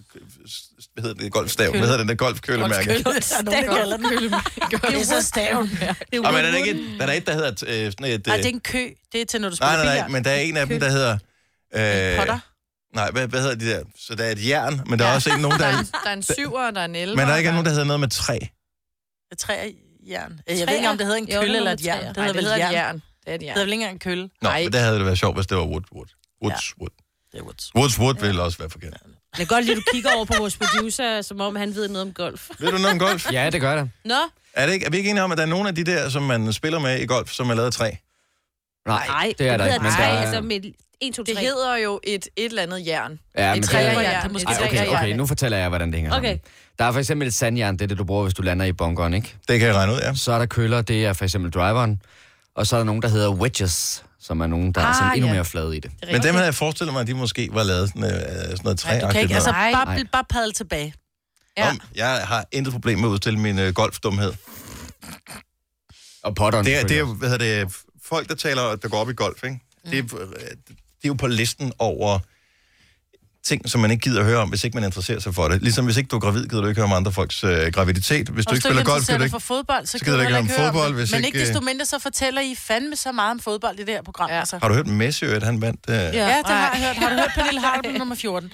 [SPEAKER 1] hvad hedder det, golfstav, hvad hedder den der golfkølemærke?
[SPEAKER 2] Undskyld, der er nogen, der kalder den. Det er så staven. Det
[SPEAKER 1] Ej, men er der ikke, et- der er der et, der hedder øh, sådan et...
[SPEAKER 2] Nej,
[SPEAKER 1] øh,
[SPEAKER 2] det er en kø. Det er til, når du
[SPEAKER 1] Nej,
[SPEAKER 2] spiller
[SPEAKER 1] nej, nej, men der er en af dem, der hedder... Øh,
[SPEAKER 2] Potter.
[SPEAKER 1] nej, hvad, hvad hedder de der? Så der er et jern, men der er også en, nogen,
[SPEAKER 4] der
[SPEAKER 1] der
[SPEAKER 4] er,
[SPEAKER 1] er,
[SPEAKER 4] en, der er en syver, og der er en elver.
[SPEAKER 1] men der er ikke
[SPEAKER 4] og
[SPEAKER 1] nogen, der hedder noget med træ.
[SPEAKER 2] Træjern. Jeg ved ikke, om det hedder en
[SPEAKER 3] Jo,
[SPEAKER 2] kølle
[SPEAKER 3] det er
[SPEAKER 2] eller
[SPEAKER 3] nummer
[SPEAKER 2] et jern.
[SPEAKER 3] træer.
[SPEAKER 2] Det
[SPEAKER 4] Nej,
[SPEAKER 2] hedder
[SPEAKER 4] det
[SPEAKER 2] vel
[SPEAKER 4] hedder
[SPEAKER 2] et jern.
[SPEAKER 4] et jern. Det er et
[SPEAKER 2] Det
[SPEAKER 4] jern.
[SPEAKER 2] hedder vel ikke engang en kølle.
[SPEAKER 1] Nå,
[SPEAKER 4] Ej.
[SPEAKER 1] men det havde det været sjovt, hvis det var Wood, Wood. Woods, Wood.
[SPEAKER 2] Det er Woods.
[SPEAKER 1] Woods Wood ville også være forkert.
[SPEAKER 3] Jeg kan godt lide, at du kigger over på vores producer, som om han ved noget om golf.
[SPEAKER 1] Ved du noget om golf?
[SPEAKER 9] Ja, det gør det.
[SPEAKER 3] Nå,
[SPEAKER 1] Er, det ikke, er vi ikke enige om, at der er nogle af de der, som man spiller med i golf, som er lavet af træ?
[SPEAKER 9] Nej,
[SPEAKER 3] nej,
[SPEAKER 9] det er der ikke.
[SPEAKER 3] hedder
[SPEAKER 9] Men
[SPEAKER 3] tre,
[SPEAKER 9] der er,
[SPEAKER 3] altså med 1, 2, 3.
[SPEAKER 4] Det hedder jo et, et eller andet jern.
[SPEAKER 9] ja,
[SPEAKER 4] et
[SPEAKER 9] men
[SPEAKER 4] træer,
[SPEAKER 9] det,
[SPEAKER 4] ja.
[SPEAKER 9] er-
[SPEAKER 4] Det er måske
[SPEAKER 9] Ej, okay, okay, nu fortæller jeg, hvordan det hænger
[SPEAKER 3] Okay.
[SPEAKER 9] sammen. Der er for eksempel et sandjern, det er det, du bruger, hvis du lander i bunkeren, ikke?
[SPEAKER 1] Det kan jeg regne ud, ja.
[SPEAKER 9] Så er der køller, det er for eksempel driveren. Og så er der nogen, der hedder wedges, som er nogen, der ah, er sådan
[SPEAKER 4] Ah,
[SPEAKER 9] endnu
[SPEAKER 4] ja.
[SPEAKER 9] mere flade i det.
[SPEAKER 1] Men dem havde jeg forestillet mig, at de måske var lavet sådan, øh, sådan noget
[SPEAKER 2] Nej, du kan
[SPEAKER 1] træagtigt
[SPEAKER 2] ikke. Altså,
[SPEAKER 1] noget.
[SPEAKER 2] bare,
[SPEAKER 9] Nej.
[SPEAKER 2] bare padle tilbage.
[SPEAKER 4] ja.
[SPEAKER 1] Om, jeg har intet problem med at udstille min øh, golfdumhed.
[SPEAKER 9] Og potteren.
[SPEAKER 1] Det er, det er,
[SPEAKER 9] selvfølgelig.
[SPEAKER 1] hvad hedder det, folk, der taler, der går op i golf, ikke? Det, er,
[SPEAKER 2] Mm.
[SPEAKER 1] øh, det er jo på listen over ting, som man ikke gider at høre om, hvis ikke man interesserer sig for det. Ligesom hvis ikke du er gravid, gider du ikke høre om andre folks øh, graviditet. Hvis du ikke spiller golf, gider du
[SPEAKER 2] interesserer dig
[SPEAKER 1] ikke...
[SPEAKER 2] for fodbold, så
[SPEAKER 1] så
[SPEAKER 2] kan
[SPEAKER 1] gider
[SPEAKER 2] du
[SPEAKER 1] du ikke
[SPEAKER 2] heller
[SPEAKER 1] om
[SPEAKER 2] ikke høre om
[SPEAKER 1] fodbold,
[SPEAKER 2] det.
[SPEAKER 1] hvis
[SPEAKER 2] Men
[SPEAKER 1] ikke, øh-
[SPEAKER 2] ikke desto mindre, så fortæller I fandme så meget om fodbold i det her program.
[SPEAKER 4] Ja.
[SPEAKER 2] Altså.
[SPEAKER 1] Har du hørt Messi, at han vandt? Øh... Ja.
[SPEAKER 2] Ja, det har jeg hørt. Har du hørt Pernille Harder nummer 14?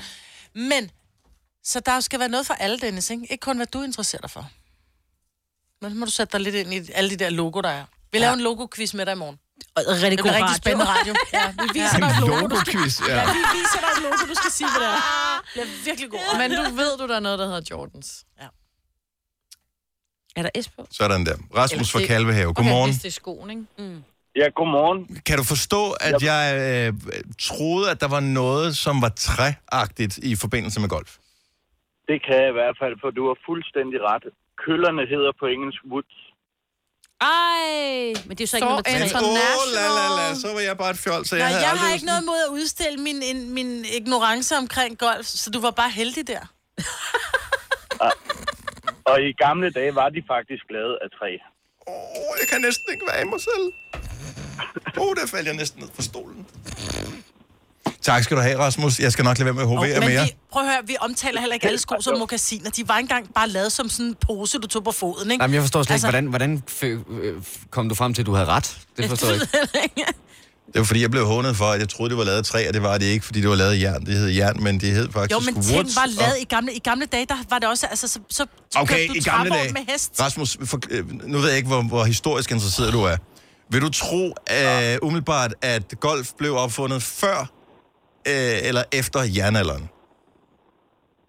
[SPEAKER 2] Men, så der skal være noget for alle, Dennis, ikke? Ikke kun, hvad du interesserer dig for. Men så må du sætte dig lidt ind i alle de der logo, der er. Vi laver en logo-quiz med dig i morgen.
[SPEAKER 3] rigtig
[SPEAKER 2] Det
[SPEAKER 3] god
[SPEAKER 2] bliver rigtig
[SPEAKER 3] radio.
[SPEAKER 2] spændende radio. Ja, vi viser dig et
[SPEAKER 1] En
[SPEAKER 2] logo. Du skal,
[SPEAKER 1] logo-quiz, ja.
[SPEAKER 2] vi viser dig et logo, du skal sige, hvad det er. Det bliver virkelig god.
[SPEAKER 4] Men du ved, du der er noget, der hedder Jordans.
[SPEAKER 3] Er der S på?
[SPEAKER 1] Sådan der. Rasmus fra
[SPEAKER 4] det-
[SPEAKER 1] Kalvehave, godmorgen.
[SPEAKER 4] Hvis det er skoen, ikke?
[SPEAKER 7] Ja, godmorgen.
[SPEAKER 1] Kan du forstå, at jeg øh, troede, at der var noget, som var træagtigt i forbindelse med golf?
[SPEAKER 7] Det kan jeg i hvert fald, for du har fuldstændig ret. Køllerne hedder på engelsk woods.
[SPEAKER 3] Ej, men det er jo så ikke
[SPEAKER 4] Så
[SPEAKER 3] nummer 3.
[SPEAKER 1] Men
[SPEAKER 4] International.
[SPEAKER 1] åh, la, la, la, så var jeg bare et fjol, så jeg
[SPEAKER 2] Nå,
[SPEAKER 1] havde
[SPEAKER 2] øh, jeg
[SPEAKER 1] aldrig
[SPEAKER 2] har ikke noget mod at udstille min, en, min ignorance omkring golf, så du var bare heldig der.
[SPEAKER 7] Og i gamle dage var de faktisk lavet af træ.
[SPEAKER 1] Åh, jeg kan næsten ikke være i mig selv. Åh, oh, der faldt jeg næsten ned fra stolen. Tak skal du have, Rasmus. Jeg skal nok lade være med at hovere
[SPEAKER 2] Men
[SPEAKER 1] mere.
[SPEAKER 2] vi, prøv at høre, vi omtaler heller ikke alle sko som mokassiner. De var engang bare lavet som sådan en pose, du tog på foden, ikke?
[SPEAKER 9] Jamen, jeg forstår slet
[SPEAKER 2] Altså-
[SPEAKER 9] altså... ikke, hvordan, hvordan fø- øh, f- kom du frem til, at du havde ret? Det forstår jeg ikke.
[SPEAKER 1] Det var fordi, jeg blev hånet for, at jeg troede, det var lavet af træ, og det var det ikke, fordi det var lavet af jern. Det hed jern, men det hed faktisk
[SPEAKER 2] Jo, men ting
[SPEAKER 1] woods.
[SPEAKER 2] var lavet i gamle, i gamle dage, der var det også, altså, så, så
[SPEAKER 1] og... Okay,
[SPEAKER 2] kørte du
[SPEAKER 1] i gamle
[SPEAKER 2] trævogn
[SPEAKER 1] dage.
[SPEAKER 2] med hest.
[SPEAKER 1] Rasmus, for, øh, nu ved jeg ikke, hvor, hvor historisk interesseret du er. Vil du tro øh, umiddelbart, at golf blev opfundet før øh, eller efter jernalderen?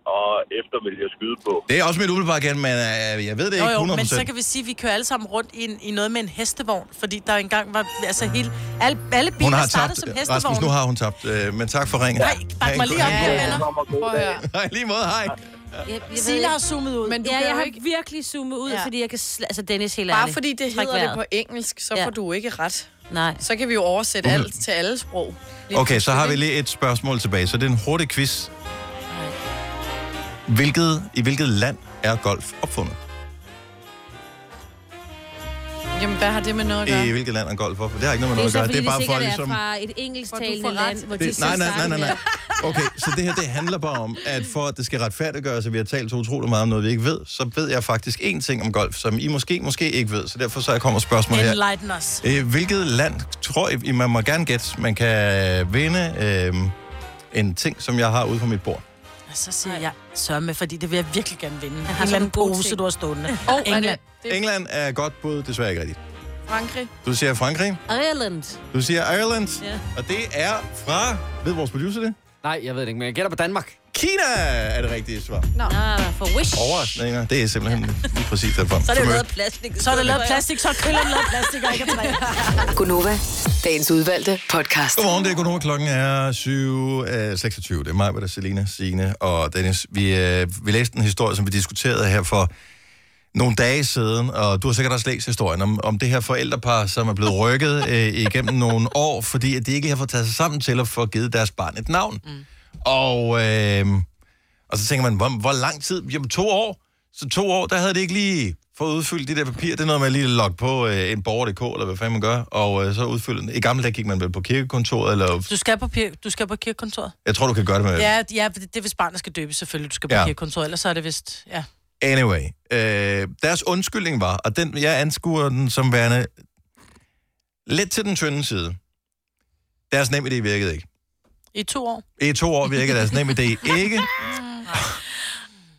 [SPEAKER 7] Og efter, vil jeg skyde på.
[SPEAKER 1] Det er også mit umiddelbare igen, men øh, jeg ved det
[SPEAKER 2] Nå,
[SPEAKER 1] ikke 100%.
[SPEAKER 2] jo, men så kan vi sige, at vi kører alle sammen rundt i, en, i noget med en hestevogn, fordi der engang var, altså hele, alle, alle biler
[SPEAKER 1] hun har
[SPEAKER 2] startede
[SPEAKER 1] tabt,
[SPEAKER 2] som
[SPEAKER 1] Rasmus, nu
[SPEAKER 2] hestevogn.
[SPEAKER 1] har hun tabt, øh, men tak for ringen.
[SPEAKER 2] Nej, bak mig lige op,
[SPEAKER 1] Ja,
[SPEAKER 2] ja, venner.
[SPEAKER 7] Prøv
[SPEAKER 4] at høre.
[SPEAKER 1] Hej, lige måde, hej.
[SPEAKER 3] Jeg, jeg
[SPEAKER 2] Silla har zoomet ud.
[SPEAKER 4] Men du
[SPEAKER 3] ja,
[SPEAKER 4] kan
[SPEAKER 3] jeg
[SPEAKER 4] jo
[SPEAKER 3] har
[SPEAKER 4] ikke...
[SPEAKER 3] ikke... virkelig zoomet ud,
[SPEAKER 4] Ja.
[SPEAKER 3] ja. fordi jeg kan... Sl- altså, Dennis, helt
[SPEAKER 4] Bare
[SPEAKER 3] ærligt.
[SPEAKER 4] fordi det
[SPEAKER 3] Træk
[SPEAKER 4] hedder det
[SPEAKER 3] vejret.
[SPEAKER 4] på engelsk, så
[SPEAKER 3] Ja.
[SPEAKER 4] får du ikke ret.
[SPEAKER 3] Nej.
[SPEAKER 4] Så kan vi jo oversætte
[SPEAKER 9] Mhm.
[SPEAKER 4] alt til alle sprog. Lige
[SPEAKER 1] Okay, så har vi
[SPEAKER 4] pludselig,
[SPEAKER 1] lige et spørgsmål tilbage, så det er en hurtig quiz. Hvilket, I hvilket land er golf opfundet?
[SPEAKER 4] ikke? Jamen, hvad har det med noget at
[SPEAKER 1] I
[SPEAKER 9] Øh,
[SPEAKER 4] gøre?
[SPEAKER 1] hvilket land er golf opfundet? Det har ikke noget
[SPEAKER 3] Det
[SPEAKER 1] med noget
[SPEAKER 3] er så,
[SPEAKER 1] at gøre.
[SPEAKER 3] fordi
[SPEAKER 1] Det er bare
[SPEAKER 3] det
[SPEAKER 1] for
[SPEAKER 3] sikkert
[SPEAKER 1] ligesom...
[SPEAKER 3] er fra et engelsktalende
[SPEAKER 4] Hvor du får ret.
[SPEAKER 3] land, hvor de
[SPEAKER 1] Det,
[SPEAKER 3] så
[SPEAKER 1] nej, nej, nej,
[SPEAKER 3] snakker
[SPEAKER 1] nej, nej.
[SPEAKER 3] med-
[SPEAKER 1] Okay, så det her, det handler bare om, at for at det skal retfærdiggøres, at vi har talt så utrolig meget om noget, vi ikke ved, så ved jeg faktisk én ting om golf, som I måske, måske ikke ved. Så derfor så kommer spørgsmålet her.
[SPEAKER 2] Enlighten os.
[SPEAKER 1] Øh, Hvilket land tror I, man må gerne gætte, man kan vinde øh, en ting, som jeg har ude på mit bord?
[SPEAKER 2] Og så siger jeg, sørg med, fordi det vil jeg virkelig gerne vinde. Jeg har en
[SPEAKER 3] sådan
[SPEAKER 2] eller anden
[SPEAKER 3] en god
[SPEAKER 2] pose,
[SPEAKER 3] ting.
[SPEAKER 2] du har stående.
[SPEAKER 4] Åh, er
[SPEAKER 2] England.
[SPEAKER 4] det, det er
[SPEAKER 1] England er et godt bud, desværre ikke rigtigt.
[SPEAKER 4] Frankrig.
[SPEAKER 1] Du siger Frankrig,
[SPEAKER 3] Ireland.
[SPEAKER 1] du siger Ireland,
[SPEAKER 3] Ja.
[SPEAKER 1] og det er fra, ved vores producer det?
[SPEAKER 9] Nej, jeg ved det ikke, men jeg gætter på Danmark.
[SPEAKER 1] Kina er det rigtige svar.
[SPEAKER 3] Ah, for wish.
[SPEAKER 1] Overraskninger, det er simpelthen lige præcis derfor.
[SPEAKER 3] Så er det jo lavet af plastik.
[SPEAKER 2] Så er det lavet af plastik, så er krillerne lavet af plastik, og ikke af træ.
[SPEAKER 8] Gunova, dagens udvalgte podcast.
[SPEAKER 1] Godmorgen, det er Godmorgen. Klokken er 7.26. Det er mig, der Selina, Signe og Dennis. Vi, øh, vi læste en historie, som vi diskuterede her for nogle dage siden, og du har sikkert også læst historien om, om det her forældrepar, som er blevet rykket øh, igennem nogle år, fordi at de ikke har fået taget sig sammen til at få givet deres barn et navn. Mm. Og, øh, og så tænker man, hvor, hvor lang tid? Jamen to år. Så to år, der havde det ikke lige fået udfyldt de der papirer. Det er noget med at lige logge på øh, en borger.dk, eller hvad fanden man gør, og øh, så udfylde den. I gamle dage gik man vel på kirkekontoret, eller
[SPEAKER 2] Du skal på, pir- du skal på kirkekontoret.
[SPEAKER 1] jeg tror, du kan gøre det med...
[SPEAKER 2] Ja, ja, det er, hvis barnet skal døbes, selvfølgelig, du skal på
[SPEAKER 1] Ja.
[SPEAKER 2] ja. kirkekontoret, ellers så er det vist, ja.
[SPEAKER 1] Anyway, øh, deres undskyldning var, og den, jeg anskuer den som værende lidt til den tynde side. Deres NemID virkede ikke.
[SPEAKER 2] I to år.
[SPEAKER 1] I to år virkede deres NemID ikke.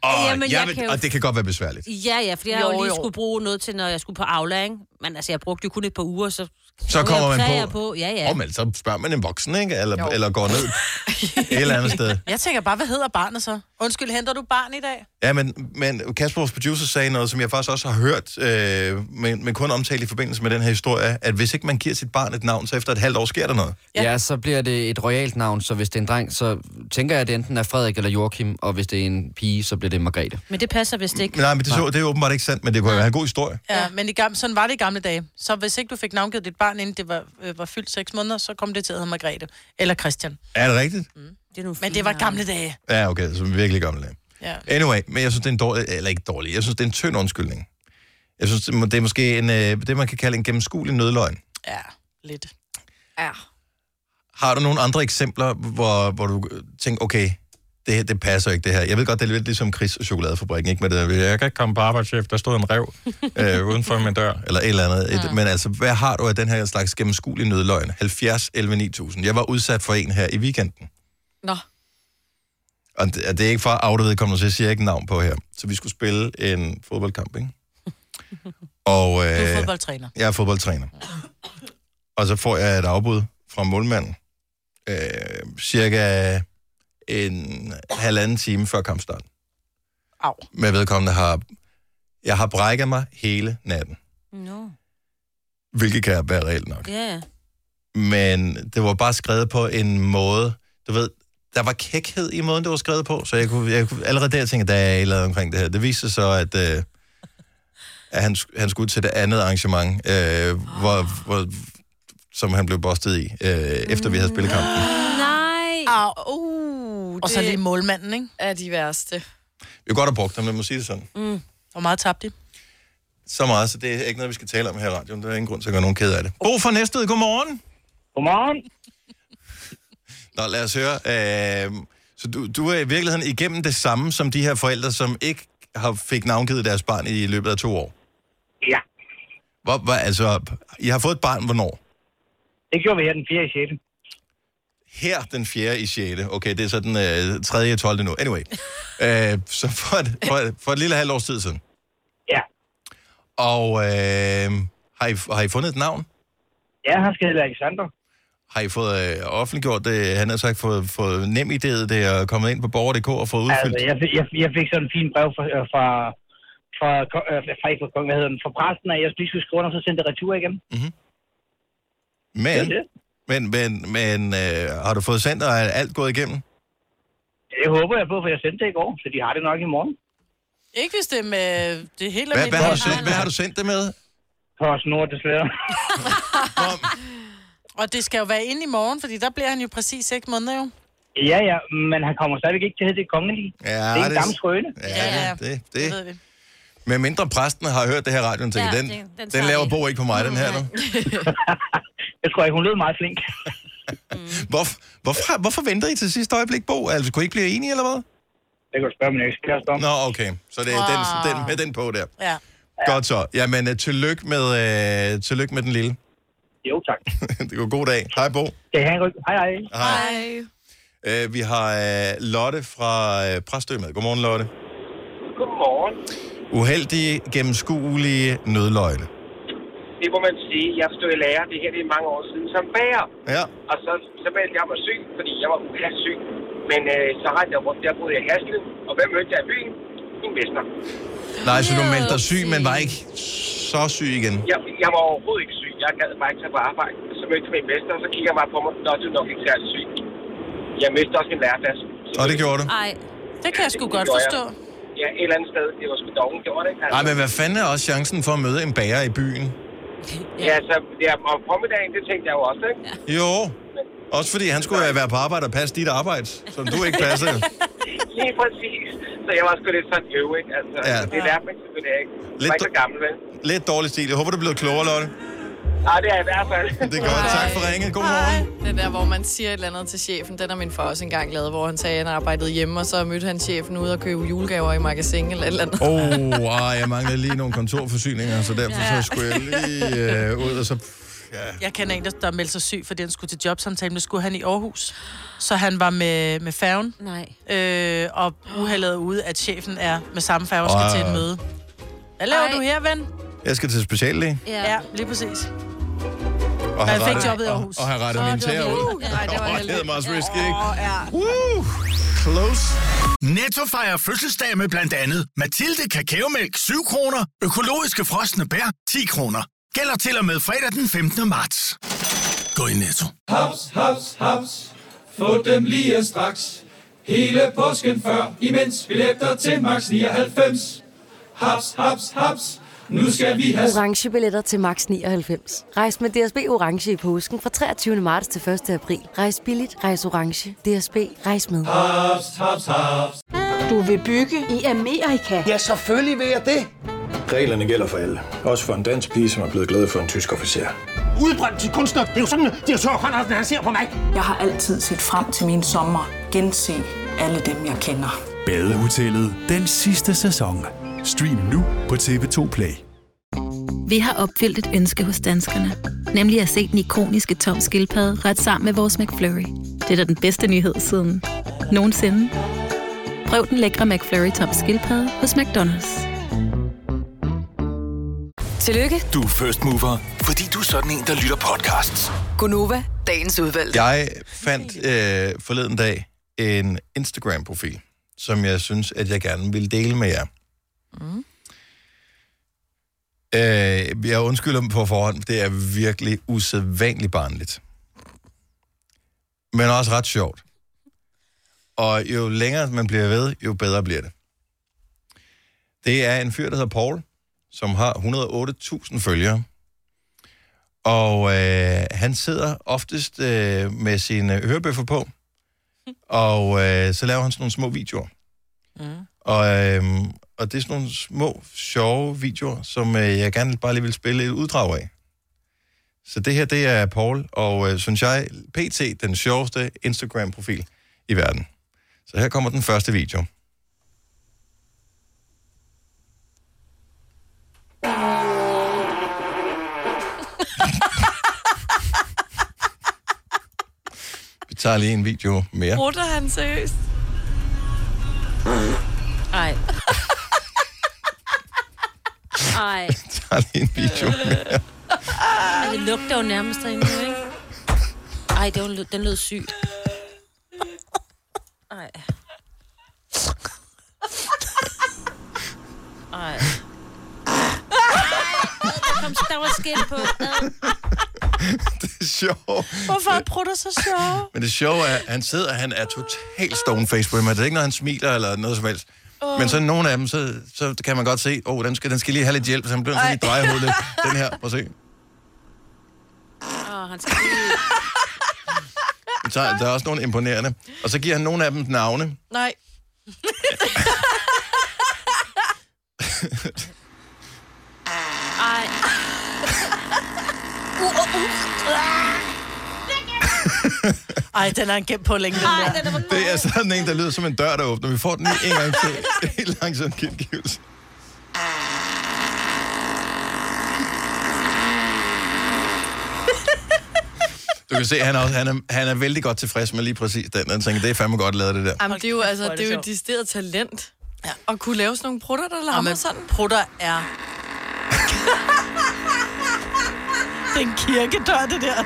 [SPEAKER 1] Og,
[SPEAKER 3] Jamen, jeg
[SPEAKER 1] jeg vil,
[SPEAKER 3] kan jo-
[SPEAKER 1] og det kan godt være besværligt.
[SPEAKER 3] Ja, ja, fordi jeg jo,
[SPEAKER 4] Jo,
[SPEAKER 3] jo lige
[SPEAKER 4] jo.
[SPEAKER 3] skulle bruge noget til, når jeg skulle på Aula, ikke? Men altså, jeg brugte jo kun et par uger, så...
[SPEAKER 1] Så kommer man
[SPEAKER 3] Så er
[SPEAKER 1] på,
[SPEAKER 3] jeg på, ja, ja.
[SPEAKER 1] Om, så spørger man en voksen, ikke? Eller,
[SPEAKER 4] Jo.
[SPEAKER 1] eller går ned et eller andet sted.
[SPEAKER 2] Jeg tænker bare, hvad hedder barnet så? Undskyld, henter du barn i dag?
[SPEAKER 1] Ja, men, men Kasper, vores producer, sagde noget, som jeg faktisk også har hørt, øh, men, men kun omtalt i forbindelse med den her historie, at hvis ikke man giver sit barn et navn, så efter et halvt år sker der noget.
[SPEAKER 9] Ja. ja, så bliver det et royalt navn, så hvis det er en dreng, så tænker jeg, at det enten er Frederik eller Joachim, og hvis det er en pige, så bliver det Margrethe.
[SPEAKER 3] Men det passer vist ikke.
[SPEAKER 1] Men Nej, men det, så, det er åbenbart ikke sandt, men det kunne jo være en god historie.
[SPEAKER 2] Ja, men i gamle, sådan var det i gamle dage. Så hvis ikke du fik navngivet dit barn, inden det var, øh, var fyldt seks måneder, så kom det til at hedde Margrethe eller Christian.
[SPEAKER 1] Er det rigtigt?
[SPEAKER 3] Det er nogle
[SPEAKER 2] Men
[SPEAKER 3] fine
[SPEAKER 2] det var
[SPEAKER 3] navne.
[SPEAKER 2] gamle dage.
[SPEAKER 1] Ja, okay, så er vi virkelig gamle dage.
[SPEAKER 2] Ja.
[SPEAKER 1] Anyway, men jeg synes, det er en dårlig, eller ikke dårlig, jeg synes, det er en tynd undskyldning. Jeg synes, det må- det er måske en, øh, det, man kan kalde en gennemskuelig nødløgn.
[SPEAKER 2] Ja, lidt.
[SPEAKER 1] Øh.
[SPEAKER 4] Ja.
[SPEAKER 1] Har du nogle andre eksempler, hvor, hvor du øh, tænker, okay, det, her, det passer ikke det her. Jeg ved godt, det er lidt ligesom Chris og chokoladefabrikken, ikke? Men det, der, jeg kan ikke komme på arbejdschef, der stod en rev øh, uden for min dør, eller et eller andet. Et, Men altså, hvad har du af den her slags gennemskuelige nødløgn? 70, 11, 9000. Jeg var udsat for en her i weekenden.
[SPEAKER 4] Nå.
[SPEAKER 1] Og det, og det er ikke for at oute vedkommende, så jeg siger ikke navn på her. Så vi skulle spille en fodboldkamp, ikke? Og
[SPEAKER 2] Du er
[SPEAKER 1] øh,
[SPEAKER 2] fodboldtræner.
[SPEAKER 1] jeg er fodboldtræner. Og så får jeg et afbud fra målmanden. Øh, cirka en halvanden time før kampstart.
[SPEAKER 2] Au.
[SPEAKER 1] Med vedkommende har... Jeg har brækket mig hele natten.
[SPEAKER 3] Nå,
[SPEAKER 1] Hvilket kan være reelt nok.
[SPEAKER 3] ja, ja.
[SPEAKER 1] men det var bare skrevet på en måde, du ved, der var kækhed i måden, det var skrevet på, så jeg kunne, jeg kunne allerede der tænke, der er et eller andet omkring det her. Det viste sig så, at, øh, at han, sk- han skulle til det andet arrangement, øh, hvor, hvor, som han blev bustet i, øh, efter vi havde spillet kampen.
[SPEAKER 3] Nej.
[SPEAKER 4] Au, uh,
[SPEAKER 2] Og så lige
[SPEAKER 4] det
[SPEAKER 2] målmanden, ikke?
[SPEAKER 4] er de værste.
[SPEAKER 1] Vi kunne godt have brugt ham, lad mig sige det sådan.
[SPEAKER 2] Hvor meget tabte de?
[SPEAKER 1] Så meget, så det er ikke noget, vi skal tale om her i radioen. Der er ingen grund til at gøre nogen ked af det. Bo fra Næstved, godmorgen.
[SPEAKER 6] Godmorgen.
[SPEAKER 1] Nå, lad os høre. Øh, så du, du er i virkeligheden igennem det samme som de her forældre, som ikke har fik navngivet deres barn i løbet af to år.
[SPEAKER 6] Ja,
[SPEAKER 1] Hvor, hvor, altså, I har fået et barn, hvornår?
[SPEAKER 6] det gjorde vi her den 4. i 6.
[SPEAKER 1] Her den 4. i 6. Okay, det er så den øh, 3. og 12. nu. Anyway. øh, så for et, for, et, for et lille halvt års tid siden.
[SPEAKER 6] Ja.
[SPEAKER 1] Og øh, har, I, har I fundet et navn?
[SPEAKER 6] Ja, han skal hedde Alexander.
[SPEAKER 1] Har I fået øh, offentliggjort det? Han har sagt, fået, fået nem idé, det er kommet ind på borger.dk og fået udfyldt.
[SPEAKER 10] Altså, jeg, fik- jeg, jeg fik sådan en fin brev fra, øh, fra, fra, ko- øh, fra, ikke fra, kongen, hvad hedder den, fra præsten, at jeg lige skulle skrive under, og så sendte det retur igen.
[SPEAKER 1] Men, men, men, men øh, har du fået sendt, og er alt gået igennem?
[SPEAKER 10] Det håber jeg på, for jeg sendte det i går, så de har det nok i morgen.
[SPEAKER 2] Ikke hvis det er med det er helt
[SPEAKER 1] Hvad, hvad, har du
[SPEAKER 2] almindelige.
[SPEAKER 1] sendt, hvad har du sendt det med?
[SPEAKER 10] PostNord, desværre.
[SPEAKER 2] Og det skal jo være inde i morgen, fordi der bliver han jo præcis 6 måneder jo.
[SPEAKER 10] Ja, ja, men han kommer stadigvæk ikke til at hedde det kongelige.
[SPEAKER 1] Ja,
[SPEAKER 10] det er en gammel skrøne.
[SPEAKER 1] Ja, det, det, det. Med mindre præsten har hørt det her radioen, tænker,
[SPEAKER 10] Ja,
[SPEAKER 1] ja, den,
[SPEAKER 10] det- den
[SPEAKER 1] den, den
[SPEAKER 10] tager
[SPEAKER 1] laver
[SPEAKER 10] vi.
[SPEAKER 1] Bo ikke på mig, den her nu.
[SPEAKER 10] Jeg tror ikke, hun lød meget flink.
[SPEAKER 1] Hvorfor, hvorfor, hvorfor venter I til sidste øjeblik, Bo? Altså, kunne I ikke blive enige, eller hvad?
[SPEAKER 10] Det kan du spørge min ekskæreste om.
[SPEAKER 1] Nå, okay. Så det er
[SPEAKER 10] Wow.
[SPEAKER 1] den, den, med den på der.
[SPEAKER 2] Ja.
[SPEAKER 1] Godt så. Jamen, øh, tillykke med, øh, tillykke med den lille.
[SPEAKER 10] Jo, tak.
[SPEAKER 1] det var god dag. Hej, Bo.
[SPEAKER 10] Kan I have en god... Hej, hej.
[SPEAKER 1] Hej. Øh, vi har øh, Lotte fra øh, Præstø med. Godmorgen, Lotte.
[SPEAKER 11] Godmorgen.
[SPEAKER 1] Uheldige, gennemskuelige nødløgne.
[SPEAKER 11] Det må man sige. Jeg stod i lærer, det her det er mange år siden, som bager.
[SPEAKER 1] Ja.
[SPEAKER 11] Og så, så meldte jeg mig syg, fordi jeg var uklass syg. Men øh, så rejste jeg rundt, der boede jeg i Hasle. Og hvem mødte jeg i byen? Min mester.
[SPEAKER 1] Nej, så du meldte dig syg, men var ikke så syg igen.
[SPEAKER 11] Jeg, jeg var overhovedet ikke syg. Jeg gad bare ikke tage på arbejde. Så mødte jeg min mester, og så kigger jeg bare på mig. Nå, du er nok ikke særlig syg. Jeg mistede også min læreplads.
[SPEAKER 1] Og det gjorde du.
[SPEAKER 2] Nej, det kan jeg sgu godt
[SPEAKER 11] gjorde jeg.
[SPEAKER 2] forstå.
[SPEAKER 11] Ja, et eller andet sted. Det var sgu dogen, gjorde det.
[SPEAKER 1] Nej, men hvad fanden er også chancen for at møde en bager i byen?
[SPEAKER 11] Ja, så ja, om formiddagen, det tænkte jeg jo også, ikke?
[SPEAKER 1] Jo. Også fordi han skulle øh, være på arbejde og passe dit arbejde, som du ikke passer.
[SPEAKER 11] Lige præcis. Så jeg var sgu lidt sådan øv, ikke? Altså,
[SPEAKER 1] Ja.
[SPEAKER 11] ja. det lærte man selvfølgelig ikke. Lidt var
[SPEAKER 1] Lidt
[SPEAKER 11] ikke så gammel, vel?
[SPEAKER 1] Lidt dårlig stil. Jeg håber, du er blevet klogere, Lotte.
[SPEAKER 11] Nej, det er jeg i hvert fald.
[SPEAKER 1] Det er godt. Tak for ringet. God morgen.
[SPEAKER 4] Den der, hvor man siger et eller andet til chefen, den har min far også engang lavet, hvor han sagde, at han arbejdede hjemme, og så mødte han chefen ude og købe julegaver i magasin eller et eller andet.
[SPEAKER 1] Åh, oh, ah, jeg manglede lige nogle kontorforsyninger, så derfor så skulle jeg lige øh, ud, og så...
[SPEAKER 2] Jeg kender en, der, der meldte sig syg, fordi han skulle til jobsamtale, men det skulle han i Aarhus. Så han var med, med færgen.
[SPEAKER 3] Nej.
[SPEAKER 2] Øh, og uheldet er ude, at chefen er med samme færge og skal
[SPEAKER 1] Ej.
[SPEAKER 2] til et møde. Hvad laver
[SPEAKER 3] Ej.
[SPEAKER 2] du her, ven?
[SPEAKER 1] Jeg skal til speciallæge.
[SPEAKER 3] Ja.
[SPEAKER 2] ja lige præcis.
[SPEAKER 1] Og
[SPEAKER 2] Jeg fik jobbet i Aarhus.
[SPEAKER 1] Og, og have rettet
[SPEAKER 2] Så
[SPEAKER 1] min
[SPEAKER 2] det var
[SPEAKER 1] tæer
[SPEAKER 2] heldigt.
[SPEAKER 1] ud.
[SPEAKER 2] Ja. Nej, det var
[SPEAKER 1] Åh,
[SPEAKER 2] heldigt.
[SPEAKER 1] Det er meget risky, ikke?
[SPEAKER 12] Woo! Close. Netto fejrer fødselsdag med blandt andet Mathilde Kakaomælk 7 kroner, økologiske frosne bær 10 kroner. Gælder til og med fredag den 15. marts. Gå i Netto.
[SPEAKER 13] Haps, haps, haps. Få dem lige straks. Hele påsken før, imens billetter til max 99. Haps, haps, haps. Nu skal vi have...
[SPEAKER 14] orange billetter til max 99. Rejs med DSB orange i påsken fra 23. marts til 1. april. Rejs billigt, rejs orange. DSB rejs med.
[SPEAKER 13] Haps, haps, haps.
[SPEAKER 15] Du vil bygge i Amerika? Ja, selvfølgelig vil jeg det.
[SPEAKER 16] Reglerne gælder for alle. Også for en dansk pige, som er blevet glad for en tysk officer.
[SPEAKER 17] Udbrøndt til kunstner. Det er jo sådan, at de har Conradsen, han ser på mig. Jeg har altid set frem til min sommer. Gense alle dem, jeg kender.
[SPEAKER 18] Badehotellet den sidste sæson. Stream nu på TV2 Play.
[SPEAKER 19] Vi har opfyldt et ønske hos danskerne. Nemlig at se den ikoniske tom skildpadde ret sammen med vores McFlurry. Det er da den bedste nyhed siden nogensinde. Prøv den lækre McFlurry tom skildpadde hos McDonald's.
[SPEAKER 8] Tillykke,
[SPEAKER 5] Du er first mover, fordi du er sådan en, der lytter podcasts.
[SPEAKER 8] Gunova, dagens udvalgte.
[SPEAKER 1] Jeg fandt øh, forleden dag en Instagram-profil, som jeg synes, at jeg gerne vil dele med jer.
[SPEAKER 20] Mm.
[SPEAKER 1] Øh, jeg undskylder dem på forhånd, det er virkelig usædvanligt barnligt. Men også ret sjovt. Og jo længere man bliver ved, jo bedre bliver det. Det er en fyr, der hedder Paul, som har 108.000 følgere. Og øh, han sidder oftest øh, med sine hørebøffer på, og øh, så laver han sådan nogle små videoer.
[SPEAKER 20] Mm.
[SPEAKER 1] Og, øh, og det er sådan nogle små, sjove videoer, som øh, jeg gerne bare lige vil spille et uddrag af. Så det her, det er Paul, og øh, synes jeg, PT, den sjoveste Instagram-profil i verden. Så her kommer den første video. Vi tager lige en video mere.
[SPEAKER 4] Brutter han seriøst?
[SPEAKER 3] Ej. Ej.
[SPEAKER 1] tager lige en video mere.
[SPEAKER 3] Ej, det lugter jo nærmest derinde, ikke? Ej, Ej, det var, en lyd- den lød syg. Ej. Ej. Ej, der, kom, der var skin på. Ad.
[SPEAKER 1] Det er sjovt.
[SPEAKER 2] Hvorfor er prutter så sjove?
[SPEAKER 1] Men det sjove er, at han sidder, og han er totalt stone face på dem. Det er ikke, når han smiler eller noget som helst.
[SPEAKER 2] Åh.
[SPEAKER 1] Men så nogle af dem, så, så kan man godt se, åh, oh, den, skal, den skal lige have lidt hjælp, så han bliver sådan lige
[SPEAKER 2] Ej.
[SPEAKER 1] dreje hovedet. lidt. Den her, prøv at se.
[SPEAKER 3] Åh, han skal lige...
[SPEAKER 1] Men Så, der er også nogle imponerende. Og så giver han nogle af dem navne.
[SPEAKER 2] Nej.
[SPEAKER 3] Ej. Uh, uh, uh.
[SPEAKER 2] Ej, den er han gemt på længe, den der.
[SPEAKER 3] den
[SPEAKER 1] Det er sådan en, der lyder som en dør, der åbner. Vi får den lige en gang til. Helt langsom gengivelse. Du kan se, at han, er også, han, er, han er vældig godt tilfreds med lige præcis den. Han tænker, det er fandme godt lavet, det der.
[SPEAKER 4] Jamen, det er jo, altså,
[SPEAKER 2] hvor er
[SPEAKER 4] det
[SPEAKER 2] det
[SPEAKER 4] er jo
[SPEAKER 2] sjovt.
[SPEAKER 4] et decideret talent. Ja. At kunne lave sådan nogle prutter, der larmer
[SPEAKER 2] Jamen,
[SPEAKER 4] sådan.
[SPEAKER 2] prutter er... Det er en kirkedør, det der.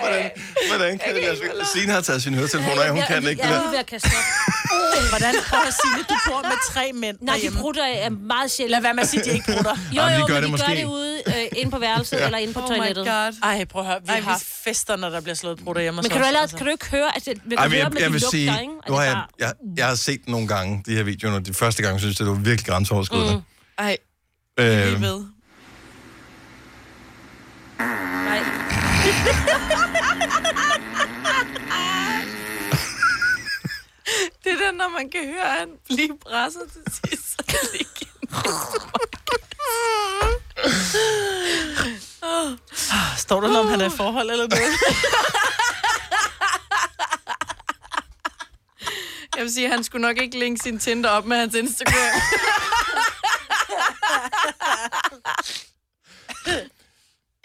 [SPEAKER 1] Hvordan, hvordan kan det lade sig? gøre? Signe har taget sine høretelefoner af, hun
[SPEAKER 3] Jeg-
[SPEAKER 1] kan ikke
[SPEAKER 3] Jeg
[SPEAKER 1] det
[SPEAKER 3] er lige ved
[SPEAKER 1] der.
[SPEAKER 3] at kaste op.
[SPEAKER 2] Hvordan prøver at sige Du bor med tre mænd
[SPEAKER 3] Nej, de prutter er meget sjældent. Lad
[SPEAKER 2] være med at sige, de ikke prutter.
[SPEAKER 3] Jo,
[SPEAKER 1] Jamen,
[SPEAKER 3] jo,
[SPEAKER 1] de
[SPEAKER 3] men
[SPEAKER 1] gør
[SPEAKER 3] de
[SPEAKER 1] det
[SPEAKER 3] gør
[SPEAKER 1] måske.
[SPEAKER 3] det ude øh, inde på værelset
[SPEAKER 1] Ja.
[SPEAKER 3] eller inde på
[SPEAKER 2] Oh my
[SPEAKER 3] toilettet.
[SPEAKER 2] God. Ej, prøv at høre. Vi Ej, har fester, når der bliver slået prutter hjemme Altså.
[SPEAKER 3] Men kan du, allerede, kan du ikke høre, at det, man kan
[SPEAKER 1] Ej, men
[SPEAKER 3] høre,
[SPEAKER 1] jeg,
[SPEAKER 3] men
[SPEAKER 1] jeg
[SPEAKER 3] de
[SPEAKER 1] vil
[SPEAKER 3] lugter,
[SPEAKER 1] sige,
[SPEAKER 3] ikke? Altså, Og
[SPEAKER 1] nu
[SPEAKER 3] det
[SPEAKER 1] har
[SPEAKER 3] er
[SPEAKER 1] jeg,
[SPEAKER 3] bare-
[SPEAKER 1] jeg, jeg har set den nogle gange, de her videoer, og de første gang synes jeg, det var virkelig grænseoverskridende.
[SPEAKER 3] Mm.
[SPEAKER 4] Ej,
[SPEAKER 1] Øh,
[SPEAKER 4] lige ved.
[SPEAKER 3] Nej.
[SPEAKER 4] Det er den, når man kan høre, at han lige presser til sidst. så kan det ikke-
[SPEAKER 2] Åh, Står der noget, om han er i forhold eller noget?
[SPEAKER 4] Jeg vil sige, at han skulle nok ikke linke sin Tinder op med hans Instagram.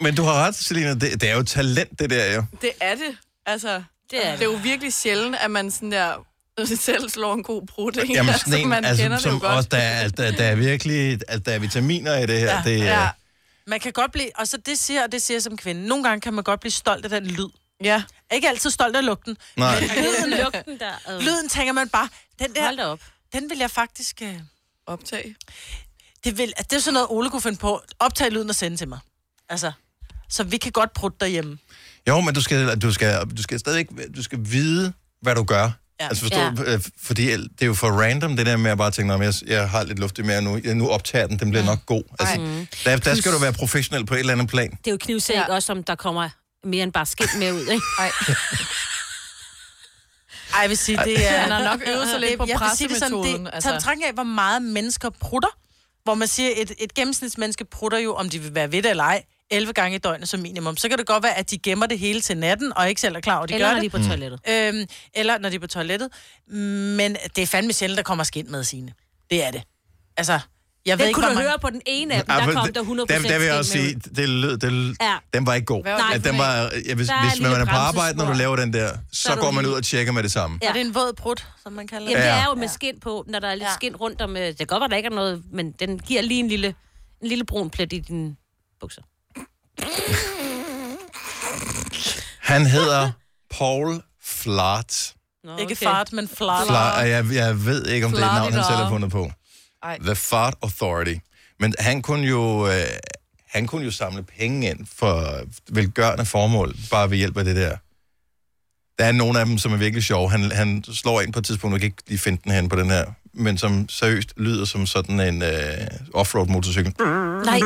[SPEAKER 1] Men du har ret, Selina, det, det er jo talent, det der jo.
[SPEAKER 4] Det er det. Altså,
[SPEAKER 3] det er,
[SPEAKER 4] det er jo virkelig sjældent, at man sådan der selv slår en god brud. ikke?
[SPEAKER 1] Jamen sådan en,
[SPEAKER 4] man
[SPEAKER 1] altså,
[SPEAKER 4] kender det jo
[SPEAKER 1] som
[SPEAKER 4] godt.
[SPEAKER 1] også, der er, der, der er virkelig, altså, der er vitaminer i det her. Ja, det, øh. ja.
[SPEAKER 2] Man kan godt blive, og så det siger, og det siger jeg som kvinde, nogle gange kan man godt blive stolt af den lyd.
[SPEAKER 4] Ja.
[SPEAKER 2] Ikke altid stolt af lugten.
[SPEAKER 1] Nej.
[SPEAKER 2] Men lyden,
[SPEAKER 3] lugten der. øh.
[SPEAKER 2] lyden tænker man bare, den der,
[SPEAKER 3] Hold da op.
[SPEAKER 2] den vil jeg faktisk... Øh,
[SPEAKER 4] optage.
[SPEAKER 2] Det, vil, at det er sådan noget, Ole kunne finde på. Optag lyden og sende til mig. Altså, så vi kan godt prutte derhjemme.
[SPEAKER 1] Jo, men du skal, du skal, du skal stadigvæk du skal vide, hvad du gør. Ja. Altså forstå,
[SPEAKER 2] Ja.
[SPEAKER 1] ja. fordi det er jo for random, det der med at bare tænke, "Nå, men jeg, jeg har lidt luft i maven nu, jeg nu optager den, den bliver nok god. Altså, der, der skal du være professionel på et eller andet plan.
[SPEAKER 3] Det er jo knivsæk ja. også, om der kommer mere end bare skidt med ud, ikke?
[SPEAKER 4] Ej.
[SPEAKER 2] Ej, jeg vil sige, det er...
[SPEAKER 4] Han har nok øvet sig lidt på
[SPEAKER 2] Jeg vil sige det sådan,
[SPEAKER 4] pressemetoden,
[SPEAKER 2] Det,
[SPEAKER 4] altså.
[SPEAKER 2] altså. betragtning af, hvor meget mennesker prutter. Hvor man siger, et, et gennemsnitsmenneske prutter jo, om de vil være ved det eller ej, 11 gange i døgnet som minimum. Så kan det godt være, at de gemmer det hele til natten, og ikke selv er klar over, at de
[SPEAKER 3] Eller
[SPEAKER 2] gør
[SPEAKER 3] når
[SPEAKER 2] det.
[SPEAKER 3] de
[SPEAKER 1] Mm.
[SPEAKER 3] er på toilettet.
[SPEAKER 2] Øhm, eller når de er på toilettet. Men det er fandme sjældent, der kommer skind med sine. Det er det. Altså, jeg ved
[SPEAKER 3] det
[SPEAKER 2] ikke,
[SPEAKER 3] kunne
[SPEAKER 2] hvor
[SPEAKER 3] du
[SPEAKER 2] mange...
[SPEAKER 3] høre på den ene af dem,
[SPEAKER 1] Ej,
[SPEAKER 3] der
[SPEAKER 1] men
[SPEAKER 3] kom
[SPEAKER 1] Ah, det-
[SPEAKER 3] der 100
[SPEAKER 1] dem, der vil jeg også sige, det lød, det lød,
[SPEAKER 3] Ja.
[SPEAKER 1] den var ikke god.
[SPEAKER 3] Hvad var
[SPEAKER 1] At
[SPEAKER 3] det for
[SPEAKER 1] den
[SPEAKER 3] en?
[SPEAKER 1] var, ja, hvis,
[SPEAKER 2] Der er et
[SPEAKER 1] hvis man
[SPEAKER 2] lille
[SPEAKER 1] er på arbejde, når
[SPEAKER 2] bremsespor.
[SPEAKER 1] du laver den der,
[SPEAKER 2] er
[SPEAKER 1] så
[SPEAKER 2] du
[SPEAKER 1] går man
[SPEAKER 2] lige-
[SPEAKER 1] ud og tjekker med det samme.
[SPEAKER 2] Er det en våd prut, som man kalder det?
[SPEAKER 3] Jamen, det er
[SPEAKER 1] Ja.
[SPEAKER 3] jo med skin på, når der er lidt skin rundt om... øh, Det kan godt være, der ikke er noget, men den giver lige en lille, en lille brun plet i dine bukser.
[SPEAKER 1] Han hedder Paul Flart.
[SPEAKER 3] Nå,
[SPEAKER 2] Ikke fart, men flart.
[SPEAKER 1] Flart, og jeg, jeg ved ikke, om det er et navn, han selv har
[SPEAKER 2] Flart.
[SPEAKER 1] fundet på.
[SPEAKER 4] Ej.
[SPEAKER 1] The Fart Authority. Men han kunne jo, øh, han kunne jo samle penge ind for velgørende formål, bare ved hjælp af det der. Der er nogle af dem, som er virkelig sjove. Han, han slår ind på et tidspunkt, og jeg kan ikke lige finde den hen på den her, men som seriøst lyder som sådan en øh, offroad-motorcykel.
[SPEAKER 3] Nej.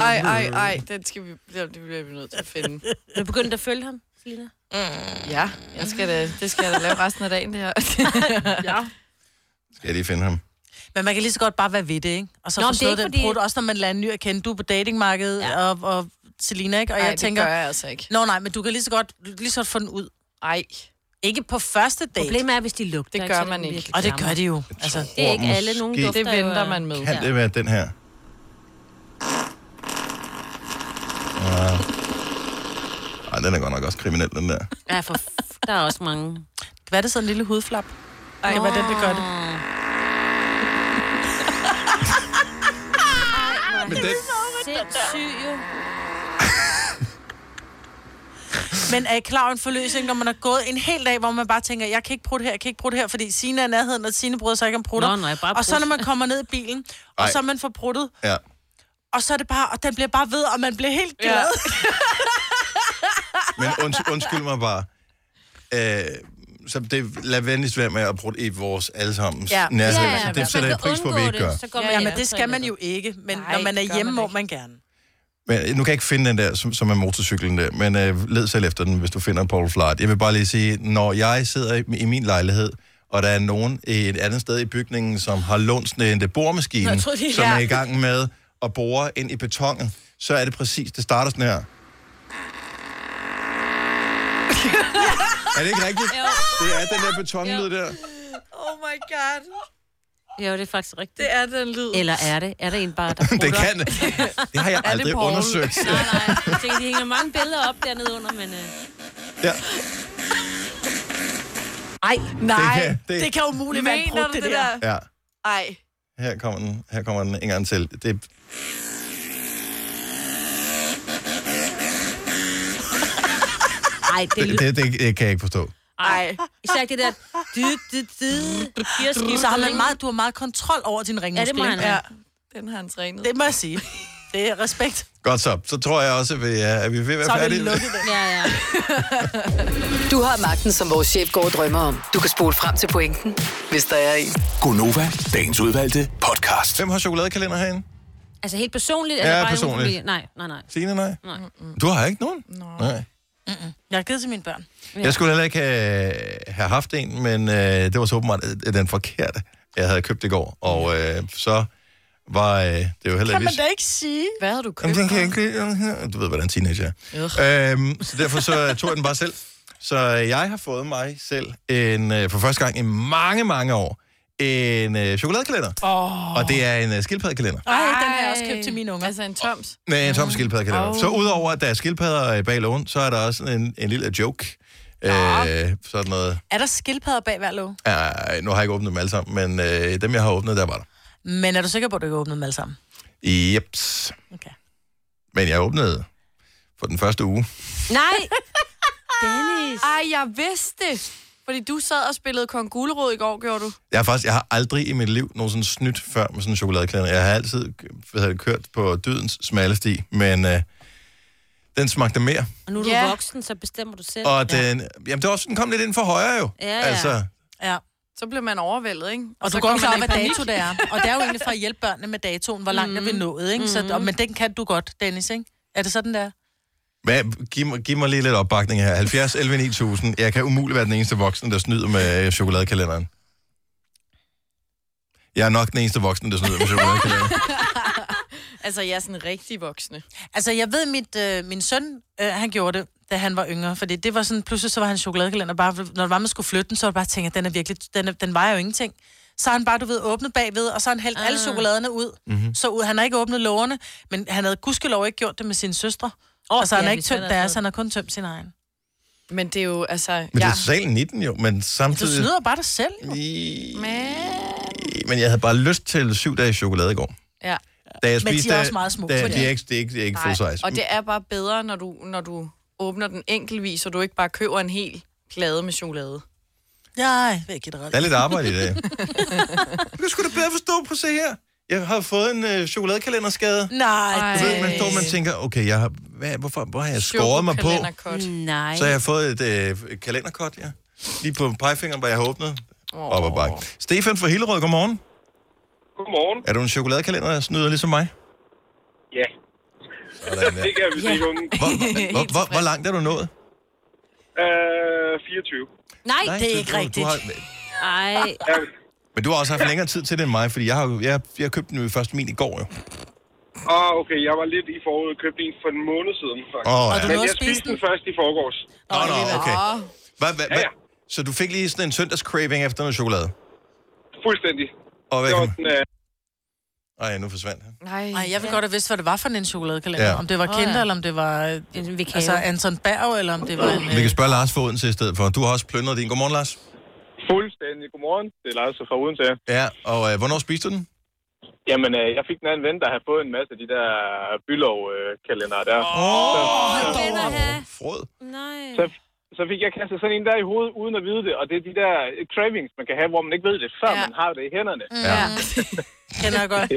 [SPEAKER 4] Ej, ej, ej. Den skal vi, det bliver vi nødt til at finde.
[SPEAKER 3] Du er begyndt at følge ham, Selina?
[SPEAKER 4] Ja, jeg skal da, det skal jeg da lave resten af dagen, det her.
[SPEAKER 2] ja.
[SPEAKER 1] Skal jeg lige finde ham?
[SPEAKER 2] Men man kan lige så godt bare være ved det, ikke? Og så
[SPEAKER 3] Nå,
[SPEAKER 2] Nå,
[SPEAKER 3] men det er
[SPEAKER 2] forstå
[SPEAKER 3] ikke
[SPEAKER 2] den
[SPEAKER 3] fordi-
[SPEAKER 2] fordi... prut, også når man lader en ny at kende. Du er på datingmarkedet, ja. og, og Selina, ikke? Og
[SPEAKER 4] Ej,
[SPEAKER 2] jeg
[SPEAKER 4] det
[SPEAKER 2] tænker,
[SPEAKER 4] gør jeg altså ikke.
[SPEAKER 2] Nå nej, men du kan lige så godt, du kan lige så godt få den ud.
[SPEAKER 4] Ej.
[SPEAKER 2] Ikke på første date.
[SPEAKER 3] Problemet er, hvis de lugter.
[SPEAKER 4] Det
[SPEAKER 3] ikke, så
[SPEAKER 4] gør
[SPEAKER 3] er
[SPEAKER 4] man ikke.
[SPEAKER 3] virkelig
[SPEAKER 2] Og det
[SPEAKER 3] klammer.
[SPEAKER 2] gør de jo. Altså,
[SPEAKER 3] Det er ikke alle, nogen
[SPEAKER 1] Måske-
[SPEAKER 3] dufter
[SPEAKER 4] Det venter man med.
[SPEAKER 1] Kan det være den her? Ja. Ah. Ej, den er godt nok også kriminel, den der.
[SPEAKER 3] Ja, for f- der er også mange.
[SPEAKER 2] Hvad er det så en lille hudflap? Ej,
[SPEAKER 3] Nå.
[SPEAKER 2] hvad er det, det gør det?
[SPEAKER 1] Men den,
[SPEAKER 3] sindssyg, jo.
[SPEAKER 2] Men er I klar over en forløsning, når man har gået en hel dag, hvor man bare tænker, jeg kan ikke prutte her, jeg kan ikke prutte her, fordi Sina er i nærheden, og Sine bryder sig ikke om prutter.
[SPEAKER 3] Nå, nej, bare
[SPEAKER 2] og så
[SPEAKER 3] prut.
[SPEAKER 2] når man kommer ned i bilen, og
[SPEAKER 1] Ej.
[SPEAKER 2] så er man får pruttet,
[SPEAKER 1] Ja.
[SPEAKER 2] og så er det bare, og den bliver bare ved, og man bliver helt glad. Ja.
[SPEAKER 1] Men und, undskyld mig bare. Øh, så det, lad venligst være med at bruge i vores allesammens ja. nærhed. Ja, ja, ja. Altså, Det sætter jeg pris på, at vi ikke gør.
[SPEAKER 2] ja, ja, men det skal man jo ikke. Men Nej, når man er hjemme, må man gerne.
[SPEAKER 1] Men, øh, nu kan jeg ikke finde den der, som, som er motorcyklen der, men øh, led selv efter den, hvis du finder en Paul Flart. Jeg vil bare lige sige, når jeg sidder i, i min lejlighed, og der er nogen i et andet sted i bygningen, som har lånt sådan en boremaskine,
[SPEAKER 20] Jeg troede lige-
[SPEAKER 1] som er i
[SPEAKER 20] Ja.
[SPEAKER 1] gang med at bore ind i betongen, så er det præcis, det starter sådan her. Er det ikke rigtigt?
[SPEAKER 4] Jo.
[SPEAKER 1] Det er den der betonlyd der.
[SPEAKER 4] Oh my god.
[SPEAKER 3] Jo, det er faktisk rigtigt.
[SPEAKER 4] Det er den lyd.
[SPEAKER 3] Eller er det? Er der en bare, der
[SPEAKER 1] Det kan. Det har jeg
[SPEAKER 3] Er det
[SPEAKER 1] aldrig
[SPEAKER 3] Paul?
[SPEAKER 1] undersøgt.
[SPEAKER 3] Jeg tænker, de hænger mange billeder op dernede under, men... Øh...
[SPEAKER 1] Ja.
[SPEAKER 3] Ej,
[SPEAKER 1] nej. Det kan- det- Det kan
[SPEAKER 4] umuligt
[SPEAKER 3] være en
[SPEAKER 4] Mener
[SPEAKER 3] prut,
[SPEAKER 4] du
[SPEAKER 3] det
[SPEAKER 4] det
[SPEAKER 3] der.
[SPEAKER 4] der?
[SPEAKER 1] Ja.
[SPEAKER 4] Ej.
[SPEAKER 1] Her kommer den, her kommer den en gang til. Det,
[SPEAKER 3] Ej, det
[SPEAKER 1] det,
[SPEAKER 3] lyder...
[SPEAKER 1] det, det, det kan jeg ikke forstå.
[SPEAKER 3] Ej. Især ikke det der... Dy, dy, dy, gearskifte,
[SPEAKER 2] Så har man
[SPEAKER 3] ikke?
[SPEAKER 2] meget, du har meget kontrol over din ringmuskel.
[SPEAKER 3] Ja, det må han
[SPEAKER 2] ikke?
[SPEAKER 3] have.
[SPEAKER 4] Den har han trænet.
[SPEAKER 2] Det må jeg sige. Det er respekt.
[SPEAKER 1] Godt så. Så tror jeg også, at vi er, at vi er ved at være
[SPEAKER 2] Så er vi
[SPEAKER 1] færdige.
[SPEAKER 2] lukket
[SPEAKER 3] Ja, ja.
[SPEAKER 8] Du har magten, som vores chef går og drømmer om. Du kan spole frem til pointen, hvis der er en.
[SPEAKER 5] Gonova, dagens udvalgte podcast.
[SPEAKER 1] Hvem har chokoladekalender herinde?
[SPEAKER 3] Altså helt personligt?
[SPEAKER 1] Ja,
[SPEAKER 3] eller bare i
[SPEAKER 1] personligt.
[SPEAKER 3] nogen familie? Nej, nej, nej.
[SPEAKER 1] Signe, nej?
[SPEAKER 3] nej.
[SPEAKER 1] Du har ikke nogen? Nej.
[SPEAKER 2] Jeg har givet til mine børn.
[SPEAKER 1] Jeg skulle heller ikke have, have haft en, men øh, det var så åbenbart øh, den forkerte, jeg havde købt i går. Og øh, så var øh, det jo heller
[SPEAKER 2] Kan
[SPEAKER 1] ikke...
[SPEAKER 2] man da ikke sige?
[SPEAKER 4] Hvad har du
[SPEAKER 1] Jamen,
[SPEAKER 4] købt?
[SPEAKER 1] den kan jeg ikke lide. Du ved, hvordan teenager er. Øhm, så derfor så tog jeg den bare selv. Så øh, jeg har fået mig selv en, øh, for første gang i mange, mange år en øh, chokoladekalender.
[SPEAKER 2] Åh.
[SPEAKER 1] Og det er en øh, skildpaddekalender.
[SPEAKER 2] Ej, den har jeg også købt til mine unger.
[SPEAKER 4] Altså en toms.
[SPEAKER 1] Nej, en tom skildpaddekalender.
[SPEAKER 2] Au.
[SPEAKER 1] Så udover at der er skildpadder øh, bag lågen, så er der også sådan en, en lille joke. Øh, sådan noget.
[SPEAKER 2] Er der skildpadder bag hver låg?
[SPEAKER 1] Ja, nu har jeg ikke åbnet dem alle sammen, men øh, dem, jeg har åbnet, der var der.
[SPEAKER 2] Men er du sikker på, at du ikke åbnede dem alle sammen?
[SPEAKER 1] Jeps.
[SPEAKER 2] Okay.
[SPEAKER 1] Men jeg åbnede for den første uge.
[SPEAKER 3] Nej. Dennis.
[SPEAKER 4] Ej, jeg vidste det. Fordi du sad og spillede Kong Gulerod i går, gjorde du?
[SPEAKER 1] Jeg har faktisk, jeg har aldrig i mit liv nogensinde snydt før med sådan en chokoladeklæder. Jeg har altid hvad hedder det, kørt på dydens smalle sti, men øh, den smagte mere.
[SPEAKER 3] Og nu er du
[SPEAKER 4] Ja.
[SPEAKER 3] voksen, så bestemmer du selv.
[SPEAKER 1] Og den, jamen det var også, den kom lidt ind for højre jo.
[SPEAKER 3] Ja, ja.
[SPEAKER 1] Altså,
[SPEAKER 2] Ja.
[SPEAKER 4] Så bliver man overvældet, ikke?
[SPEAKER 2] Og, og
[SPEAKER 4] så
[SPEAKER 2] du går
[SPEAKER 4] kommer
[SPEAKER 2] ikke klar,
[SPEAKER 4] man
[SPEAKER 2] hvad
[SPEAKER 4] i panik.
[SPEAKER 2] dato det er. Og det er jo egentlig for at hjælpe børnene med datoen, hvor langt mm. er vi nået, ikke? Så, og, men den kan du godt, Dennis, ikke? Er det sådan, der?
[SPEAKER 1] hvad, giv, mig, giv mig lige lidt opbakning her. 70 11 9000. Jeg kan umuligt være den eneste voksen, der snyder med øh, chokoladekalenderen. Jeg er nok den eneste voksen, der snyder med chokoladekalenderen.
[SPEAKER 4] Altså, jeg er sådan rigtig voksne.
[SPEAKER 2] Altså, jeg ved, mit, øh, min søn, øh, han gjorde det, da han var yngre. Fordi det var sådan, pludselig så var han chokoladekalender. Bare, når det var, man skulle flytte den, så var det bare tænkt, at den, er virkelig, den, er, den vejer jo ingenting. Så har han bare, du ved, åbnet bagved, og så har han hældt alle chokoladerne ud.
[SPEAKER 1] Mhm.
[SPEAKER 2] Så ud. Han har ikke åbnet lågerne, men han havde gudskelov ikke gjort det med sine søstre. Oh, altså, han
[SPEAKER 4] ja,
[SPEAKER 2] har
[SPEAKER 4] vi
[SPEAKER 2] ikke tømt
[SPEAKER 4] sætter os
[SPEAKER 2] deres,
[SPEAKER 4] ned.
[SPEAKER 2] han har kun tømt sin egen.
[SPEAKER 4] Men det er jo, altså...
[SPEAKER 1] Men det
[SPEAKER 4] ja.
[SPEAKER 1] er salen i den jo, men
[SPEAKER 2] Du
[SPEAKER 1] samtidig...
[SPEAKER 2] snyder bare dig selv.
[SPEAKER 1] Men jeg havde bare lyst til syv dage chokolade i går.
[SPEAKER 4] Ja.
[SPEAKER 1] Da jeg
[SPEAKER 4] Men de
[SPEAKER 1] spiste,
[SPEAKER 4] er også meget små,
[SPEAKER 1] Da,
[SPEAKER 4] så
[SPEAKER 1] de
[SPEAKER 4] det-
[SPEAKER 1] er ikke, det er ikke, det er ikke full
[SPEAKER 4] Nej,
[SPEAKER 1] size.
[SPEAKER 4] Og det er bare bedre, når du, når du åbner den enkeltvis, og du ikke bare køber en hel plade med chokolade.
[SPEAKER 2] Nej, det er generelt.
[SPEAKER 1] Der er lidt arbejde i dag. Det skulle du bedre forstå, på se her. Jeg har fået en øh, chokoladekalenderskade.
[SPEAKER 2] Nej.
[SPEAKER 1] Du ved, man står man tænker, okay, jeg har, hvad, hvorfor, hvor har jeg skåret mig på?
[SPEAKER 3] Nej.
[SPEAKER 1] Så har jeg fået et, øh, et kalenderkort, ja. Lige på pegefingeren, hvor jeg har åbnet. Oh. Op og bak. Stefan fra Hillerød, godmorgen.
[SPEAKER 11] Godmorgen.
[SPEAKER 1] Er du en chokoladekalender, der snyder ligesom mig?
[SPEAKER 11] Ja.
[SPEAKER 1] Sådan, ja.
[SPEAKER 11] det kan vi se, unge.
[SPEAKER 1] Hvor, hvor, hvor, hvor, hvor langt er du nået?
[SPEAKER 11] Øh, 24.
[SPEAKER 3] Nej,
[SPEAKER 1] Nej,
[SPEAKER 3] det er
[SPEAKER 1] du-
[SPEAKER 3] ikke
[SPEAKER 1] du- du
[SPEAKER 3] rigtigt.
[SPEAKER 1] har-
[SPEAKER 3] Ej.
[SPEAKER 1] Men du har også haft længere tid til det end mig, fordi jeg har, jo- jeg, jeg købte den jo først min i går jo.
[SPEAKER 11] Ah, okay, jeg var lidt i forud og købte en for en måned siden. faktisk.
[SPEAKER 1] Åh, ja. Og du
[SPEAKER 11] Men
[SPEAKER 1] nåede
[SPEAKER 11] jeg
[SPEAKER 1] at spise
[SPEAKER 11] spiste den først i forgårs.
[SPEAKER 1] Nå, nå, okay. Hva, hva, hva? Så du fik lige sådan en søndagscraving efter noget chokolade?
[SPEAKER 11] Fuldstændig.
[SPEAKER 1] Og hvad
[SPEAKER 11] Det var
[SPEAKER 1] kan
[SPEAKER 11] den, øh,
[SPEAKER 1] man... Ej, nu forsvandt han.
[SPEAKER 4] Nej,
[SPEAKER 2] Ej, jeg vil godt have vidst, hvad det var for en chokoladekalender.
[SPEAKER 1] Ja.
[SPEAKER 2] Ja. Om det var
[SPEAKER 4] Åh,
[SPEAKER 2] Kinder, oh,
[SPEAKER 4] ja.
[SPEAKER 2] ja. eller om det var øh,
[SPEAKER 3] vikave.
[SPEAKER 2] altså Anton Berg, eller om det var... En, øh,
[SPEAKER 1] Vi kan spørge Lars fra Odense i stedet for. Du har også plyndret din. Godmorgen, Lars.
[SPEAKER 21] Fuldstændig. Godmorgen. Det er Lars fra Odense.
[SPEAKER 1] Ja, og øh, hvornår spiste du den?
[SPEAKER 20] Jamen, øh, jeg fik den anden ven, der har fået en masse af de der øh, bylov-kalendere der.
[SPEAKER 1] Åh,
[SPEAKER 20] Så-
[SPEAKER 1] oh,
[SPEAKER 20] så, så fik jeg kastet sådan en der i hovedet, uden at vide det. Og det er de der øh, cravings, man kan have, hvor man ikke ved det, før ja. man har det i hænderne.
[SPEAKER 3] Ja. Kender jeg godt.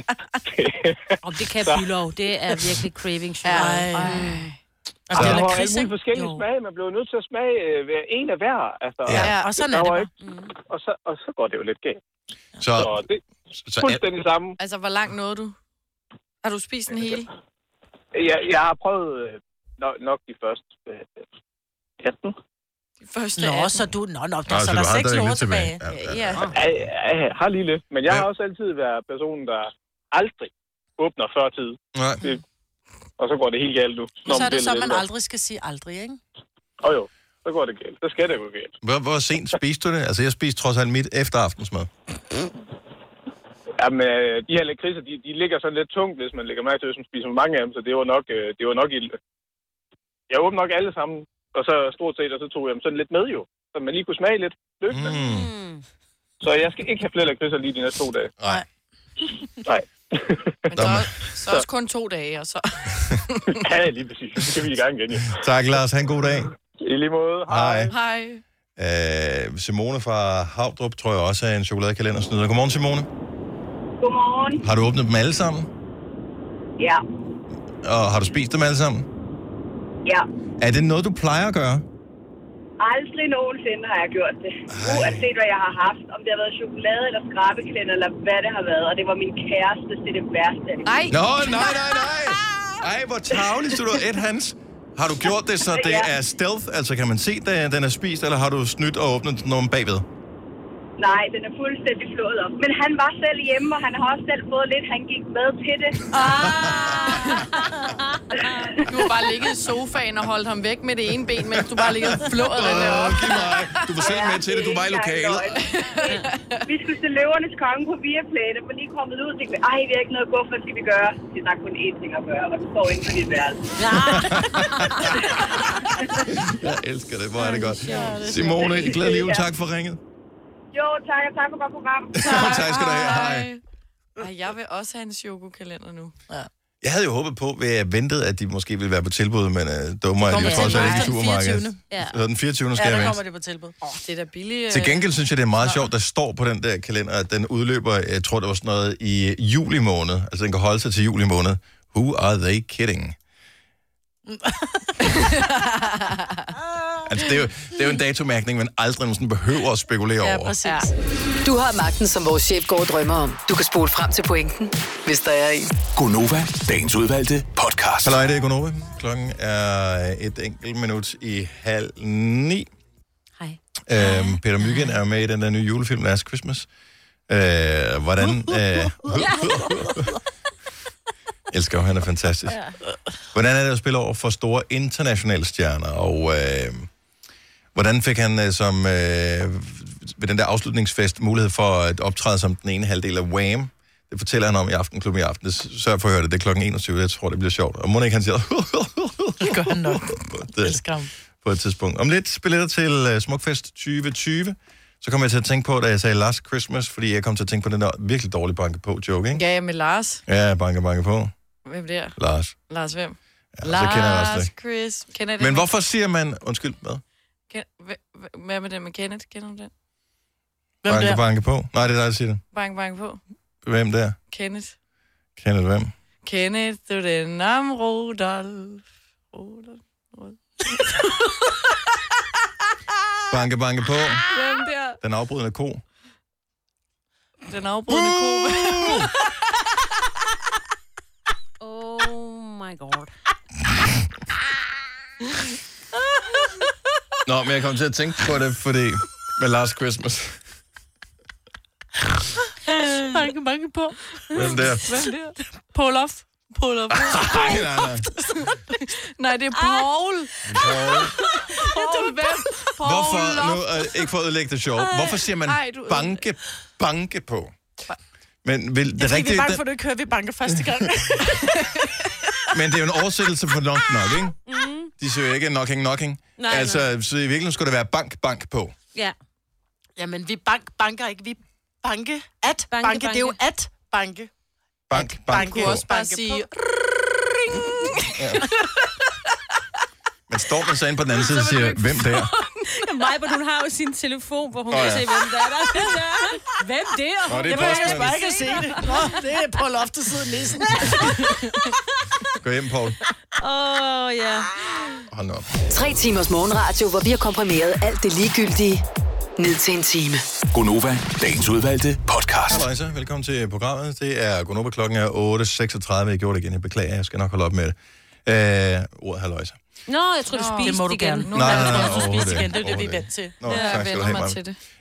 [SPEAKER 3] Om det kan
[SPEAKER 20] Så.
[SPEAKER 3] bylov. Det er virkelig craving chokolade. Ej.
[SPEAKER 20] Altså,
[SPEAKER 3] det er
[SPEAKER 20] der var
[SPEAKER 3] lakrids,
[SPEAKER 20] alle mulige
[SPEAKER 3] ikke?
[SPEAKER 20] forskellige
[SPEAKER 3] Jo.
[SPEAKER 20] smage. Man blev nødt til at smage øh, hver en af hver. Altså,
[SPEAKER 1] Ja.
[SPEAKER 3] Ja, og sådan
[SPEAKER 20] der
[SPEAKER 3] er det Mm. bare.
[SPEAKER 20] var ikke, og, så, og så går det jo lidt galt.
[SPEAKER 1] Så,
[SPEAKER 20] så det
[SPEAKER 1] så
[SPEAKER 20] er fuldstændig samme.
[SPEAKER 4] Altså, hvor langt nåede du? Har du spist den hele?
[SPEAKER 20] Jeg, jeg har prøvet øh, nok, nok de første øh, 18.
[SPEAKER 4] De første
[SPEAKER 2] Nå,
[SPEAKER 4] 18.
[SPEAKER 2] så du... Nå, nå, der,
[SPEAKER 20] Nå,
[SPEAKER 2] så der
[SPEAKER 20] så du
[SPEAKER 2] er
[SPEAKER 20] har
[SPEAKER 2] seks
[SPEAKER 20] stadig
[SPEAKER 2] år
[SPEAKER 20] lidt
[SPEAKER 2] tilbage.
[SPEAKER 20] tilbage.
[SPEAKER 4] Ja.
[SPEAKER 20] Jeg, jeg, jeg har lige lidt, men jeg har også altid været personen, der aldrig åbner før tid.
[SPEAKER 1] Nej.
[SPEAKER 20] Det, og så går det helt galt nu.
[SPEAKER 2] Men så er det
[SPEAKER 20] bliver
[SPEAKER 2] så,
[SPEAKER 20] lidt
[SPEAKER 2] man
[SPEAKER 20] ældre.
[SPEAKER 2] aldrig skal sige aldrig, ikke?
[SPEAKER 20] Åh jo, så går det galt. Så skal det gå galt.
[SPEAKER 1] Hvor, hvor sent spiste du det? Altså, jeg spiste trods alt mit efter aftensmad.
[SPEAKER 20] Jamen, øh, de her lakridser, de, de ligger sådan lidt tungt, hvis man lægger mærke til, hvis man spiser mange af dem, så det var nok, øh, det var nok ild. Jeg åbnede nok alle sammen, og så stort set, og så tog jeg dem sådan lidt med jo, så man lige kunne smage lidt løbende.
[SPEAKER 1] Mm.
[SPEAKER 20] Så jeg skal ikke have flere lakridser lige de næste to dage.
[SPEAKER 1] Nej.
[SPEAKER 20] Nej.
[SPEAKER 4] Så også kun to dage, og så...
[SPEAKER 20] ja, lige præcis. Så kan vi i gang igen, jo.
[SPEAKER 1] Tak, Lars. Ha' en god dag.
[SPEAKER 20] I lige måde.
[SPEAKER 1] Hej.
[SPEAKER 4] Hej.
[SPEAKER 1] Øh, Simone fra Havdrup tror jeg også er en chokoladekalendersnyder. Godmorgen, Simone.
[SPEAKER 21] Godmorgen.
[SPEAKER 1] Har du åbnet dem alle sammen?
[SPEAKER 21] Ja,
[SPEAKER 1] Og har du spist dem alle sammen?
[SPEAKER 21] ja.
[SPEAKER 1] Er det noget, du plejer at gøre?
[SPEAKER 21] Aldrig nogensinde har jeg gjort det. Uanset hvad jeg har haft, om det har været chokolade eller skrabeklænder eller hvad det har været. Og det var min kæreste, det er det værste.
[SPEAKER 4] Nej.
[SPEAKER 1] Nå, nej, nej, nej. Ej, hvor tavligt, du er et hans. Har du gjort det, så det
[SPEAKER 21] Ja.
[SPEAKER 1] er stealth? Altså, kan man se, at den er spist, eller har du snydt og åbnet den om bagved?
[SPEAKER 21] Nej, den er fuldstændig flået op. Men han var selv hjemme, og han har også selv fået lidt. Han gik med til det.
[SPEAKER 4] Ah. Du har bare ligget i sofaen og holdt ham væk med det ene ben, mens du bare ligget og flået den der op.
[SPEAKER 1] Du var selv med til det, du var i lokalet.
[SPEAKER 21] Vi skulle til løvernes konge på Viaplay. Der var lige kommet ud og tænkte, vi, ej, vi har ikke noget at gå, hvad skal vi gøre? Det er der er kun én ting at gøre, og du står inde på dit værelse.
[SPEAKER 1] Jeg elsker det, hvor er det godt. Simone, i glæder liv. Tak for ringet.
[SPEAKER 21] Jo, tak, og tak for godt program.
[SPEAKER 1] Tak skal du have. Hej.
[SPEAKER 4] Ej, jeg vil også have en chokokalender nu. Ja.
[SPEAKER 1] Jeg havde jo håbet på, at jeg ventede, at de måske ville være på tilbud, men øh, dummer er de
[SPEAKER 4] Kommer
[SPEAKER 1] jo trods
[SPEAKER 4] til
[SPEAKER 1] alt
[SPEAKER 4] mig
[SPEAKER 1] ikke i
[SPEAKER 4] den
[SPEAKER 1] supermarkedet.
[SPEAKER 4] 24.. Ja.
[SPEAKER 1] Så den 24. skal jeg vente.
[SPEAKER 4] det på tilbud. Åh, det er da billigt.
[SPEAKER 1] Til gengæld synes jeg, det er meget sjovt, der står på den der kalender, at den udløber, jeg tror, det var sådan noget i juli måned. Altså, den kan holde sig til juli måned. Who are they kidding? Altså, det er jo, det er jo en datomærkning, man aldrig nogensinde behøver at spekulere over.
[SPEAKER 8] Ja. Du har magten, som vores chef går og drømmer om. Du kan spole frem til pointen, hvis der er en.
[SPEAKER 5] Gonova, dagens udvalgte podcast.
[SPEAKER 1] Halløj, det er Gunova. Klokken er et enkelt minut i halv ni. Hej. Øhm, Peter Myggen er jo med i den der nye julefilm, Last Christmas. Øh, hvordan... Øh, elsker ham, han er fantastisk. Hvordan er det at spille over for store internationale stjerner, og øh, hvordan fik han øh, som øh, ved den der afslutningsfest mulighed for at optræde som den ene halvdel af Wham? Det fortæller han om i Aftenklubben i aften. Det s- Sørg for at høre det. Det er klokken 21. Jeg tror, det bliver sjovt. Og må ikke han siger... det gør han nok. det, på et tidspunkt. Om lidt billetter til øh, Smukfest 2020. Så kom jeg til at tænke på, da jeg sagde Last Christmas, fordi jeg kom til at tænke på den der virkelig dårlige banke på joke, ikke?
[SPEAKER 4] Ja, ja, med Lars.
[SPEAKER 1] Ja, banke, banke på.
[SPEAKER 4] Hvem der?
[SPEAKER 1] Lars.
[SPEAKER 4] Lars hvem? Ja,
[SPEAKER 1] så kender jeg også det.
[SPEAKER 4] Chris. Kender jeg den
[SPEAKER 1] Men
[SPEAKER 4] med-
[SPEAKER 1] hvorfor siger man... Undskyld, hvad?
[SPEAKER 4] Ken- hv- hv- Hvad med den med Kenneth? Kender du den?
[SPEAKER 1] Banke, banke på? Nej, det er dig, der siger det.
[SPEAKER 4] Bang, bang på.
[SPEAKER 1] Hvem der?
[SPEAKER 4] Kenneth.
[SPEAKER 1] Kender du hvem?
[SPEAKER 4] Kenneth, du er den om Rudolf. Rudolf. Rudolf.
[SPEAKER 1] Banke, banke på.
[SPEAKER 4] Hvem der?
[SPEAKER 1] Den afbrydende ko.
[SPEAKER 4] Den afbrudende ko.
[SPEAKER 2] Ah.
[SPEAKER 3] Oh my god.
[SPEAKER 1] Nå, men jeg kom til at tænke på det, fordi... Med Last Christmas.
[SPEAKER 2] Banke, banke på.
[SPEAKER 1] Hvem der?
[SPEAKER 4] Hvem der? Paul off. Paul off.
[SPEAKER 1] Nej, nej, nej.
[SPEAKER 4] Nej, det er Paul.
[SPEAKER 1] Paul.
[SPEAKER 4] Paul hvem? Paul
[SPEAKER 1] Hvorfor, nu,
[SPEAKER 4] Loft.
[SPEAKER 1] øh, ikke for at ødelægge det sjov, hvorfor siger man
[SPEAKER 2] Ej, du ødelægger-
[SPEAKER 1] banke, banke på? Men, vil, det
[SPEAKER 2] Det
[SPEAKER 1] er
[SPEAKER 2] er fordi, vi er
[SPEAKER 1] rigtigt,
[SPEAKER 2] bange for, at du ikke hører, at vi banker første gang.
[SPEAKER 1] men det er jo en oversættelse for nok nok, ikke? De siger jo ikke knocking, knocking.
[SPEAKER 2] Mm. Nej,
[SPEAKER 1] altså, så i virkeligheden skulle det være bank, bank på.
[SPEAKER 3] Ja.
[SPEAKER 2] Jamen, vi bank, banker ikke. Vi banke at banke. banke.
[SPEAKER 3] banke.
[SPEAKER 2] Det er jo at banke.
[SPEAKER 1] Bank,
[SPEAKER 4] Man
[SPEAKER 1] bank,
[SPEAKER 4] kunne
[SPEAKER 1] på.
[SPEAKER 4] også bare sige...
[SPEAKER 1] Men står man så inde på den anden side og siger, hvem der?
[SPEAKER 3] Majbert, hun har jo sin telefon, hvor hun
[SPEAKER 1] Nå,
[SPEAKER 3] kan
[SPEAKER 1] ja.
[SPEAKER 3] se, hvem der er. Der er den der. Hvem der?
[SPEAKER 1] Nå, det er
[SPEAKER 3] Jeg behøver
[SPEAKER 1] postmanden.
[SPEAKER 3] bare ikke at se det. Nå, det er på loftet siden nissen.
[SPEAKER 1] Gå hjem, Paul.
[SPEAKER 3] Åh, oh, ja.
[SPEAKER 1] Hold nu op.
[SPEAKER 8] Tre timers morgenradio, hvor vi har komprimeret alt det ligegyldige ned til en time.
[SPEAKER 5] Gonova, dagens udvalgte podcast.
[SPEAKER 1] Hej så, velkommen til programmet. Det er Gunnova, klokken er 8.36. Jeg gjorde det igen, jeg beklager, jeg skal nok holde op med det. Øh, ordet halløjsa.
[SPEAKER 3] Nå, jeg tror, du
[SPEAKER 2] Nå,
[SPEAKER 3] spiste
[SPEAKER 2] det må du
[SPEAKER 3] igen.
[SPEAKER 2] gerne.
[SPEAKER 1] Nej, nej, nej,
[SPEAKER 2] Jeg tror, du
[SPEAKER 1] overhovedet
[SPEAKER 2] spiste igen.
[SPEAKER 1] ikke.
[SPEAKER 2] Det er det, vi er
[SPEAKER 1] Overhovedet
[SPEAKER 2] vant til.
[SPEAKER 1] Nå, tak skal du have,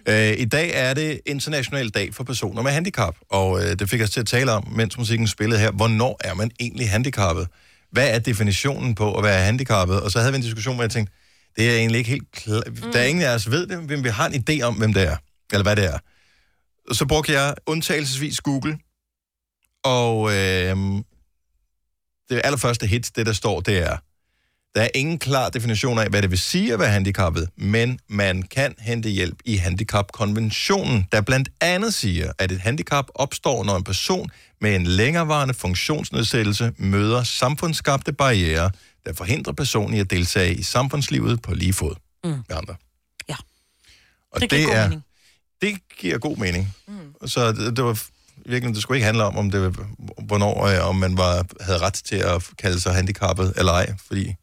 [SPEAKER 1] Maja.
[SPEAKER 2] det.
[SPEAKER 1] Øh, I dag er det International Dag for Personer med Handicap, og øh, det fik os til at tale om, mens musikken spillede her, hvornår er man egentlig handicappet? Hvad er definitionen på at være handicappet? Og så havde vi en diskussion, hvor jeg tænkte, det er egentlig ikke helt klart. Mm. Der er ingen af os ved det, men vi har en idé om, hvem det er, eller hvad det er. Så brugte jeg undtagelsesvis Google, og øh, det allerførste hit, det der står, det er, der er ingen klar definition af, hvad det vil sige at være handicappet, men man kan hente hjælp i handicapkonventionen, der blandt andet siger, at et handicap opstår, når en person med en længerevarende funktionsnedsættelse møder samfundsskabte barriere, der forhindrer personen i at deltage i samfundslivet på lige fod mm. med andre.
[SPEAKER 3] Ja.
[SPEAKER 1] Og det,
[SPEAKER 3] Det giver
[SPEAKER 1] det
[SPEAKER 3] god
[SPEAKER 1] er
[SPEAKER 3] mening.
[SPEAKER 1] det giver god mening. Mm. Så det, det var virkelig, det skulle ikke handle om, om det, hvornår, øh, om man var, havde ret til at kalde sig handicappet eller ej, fordi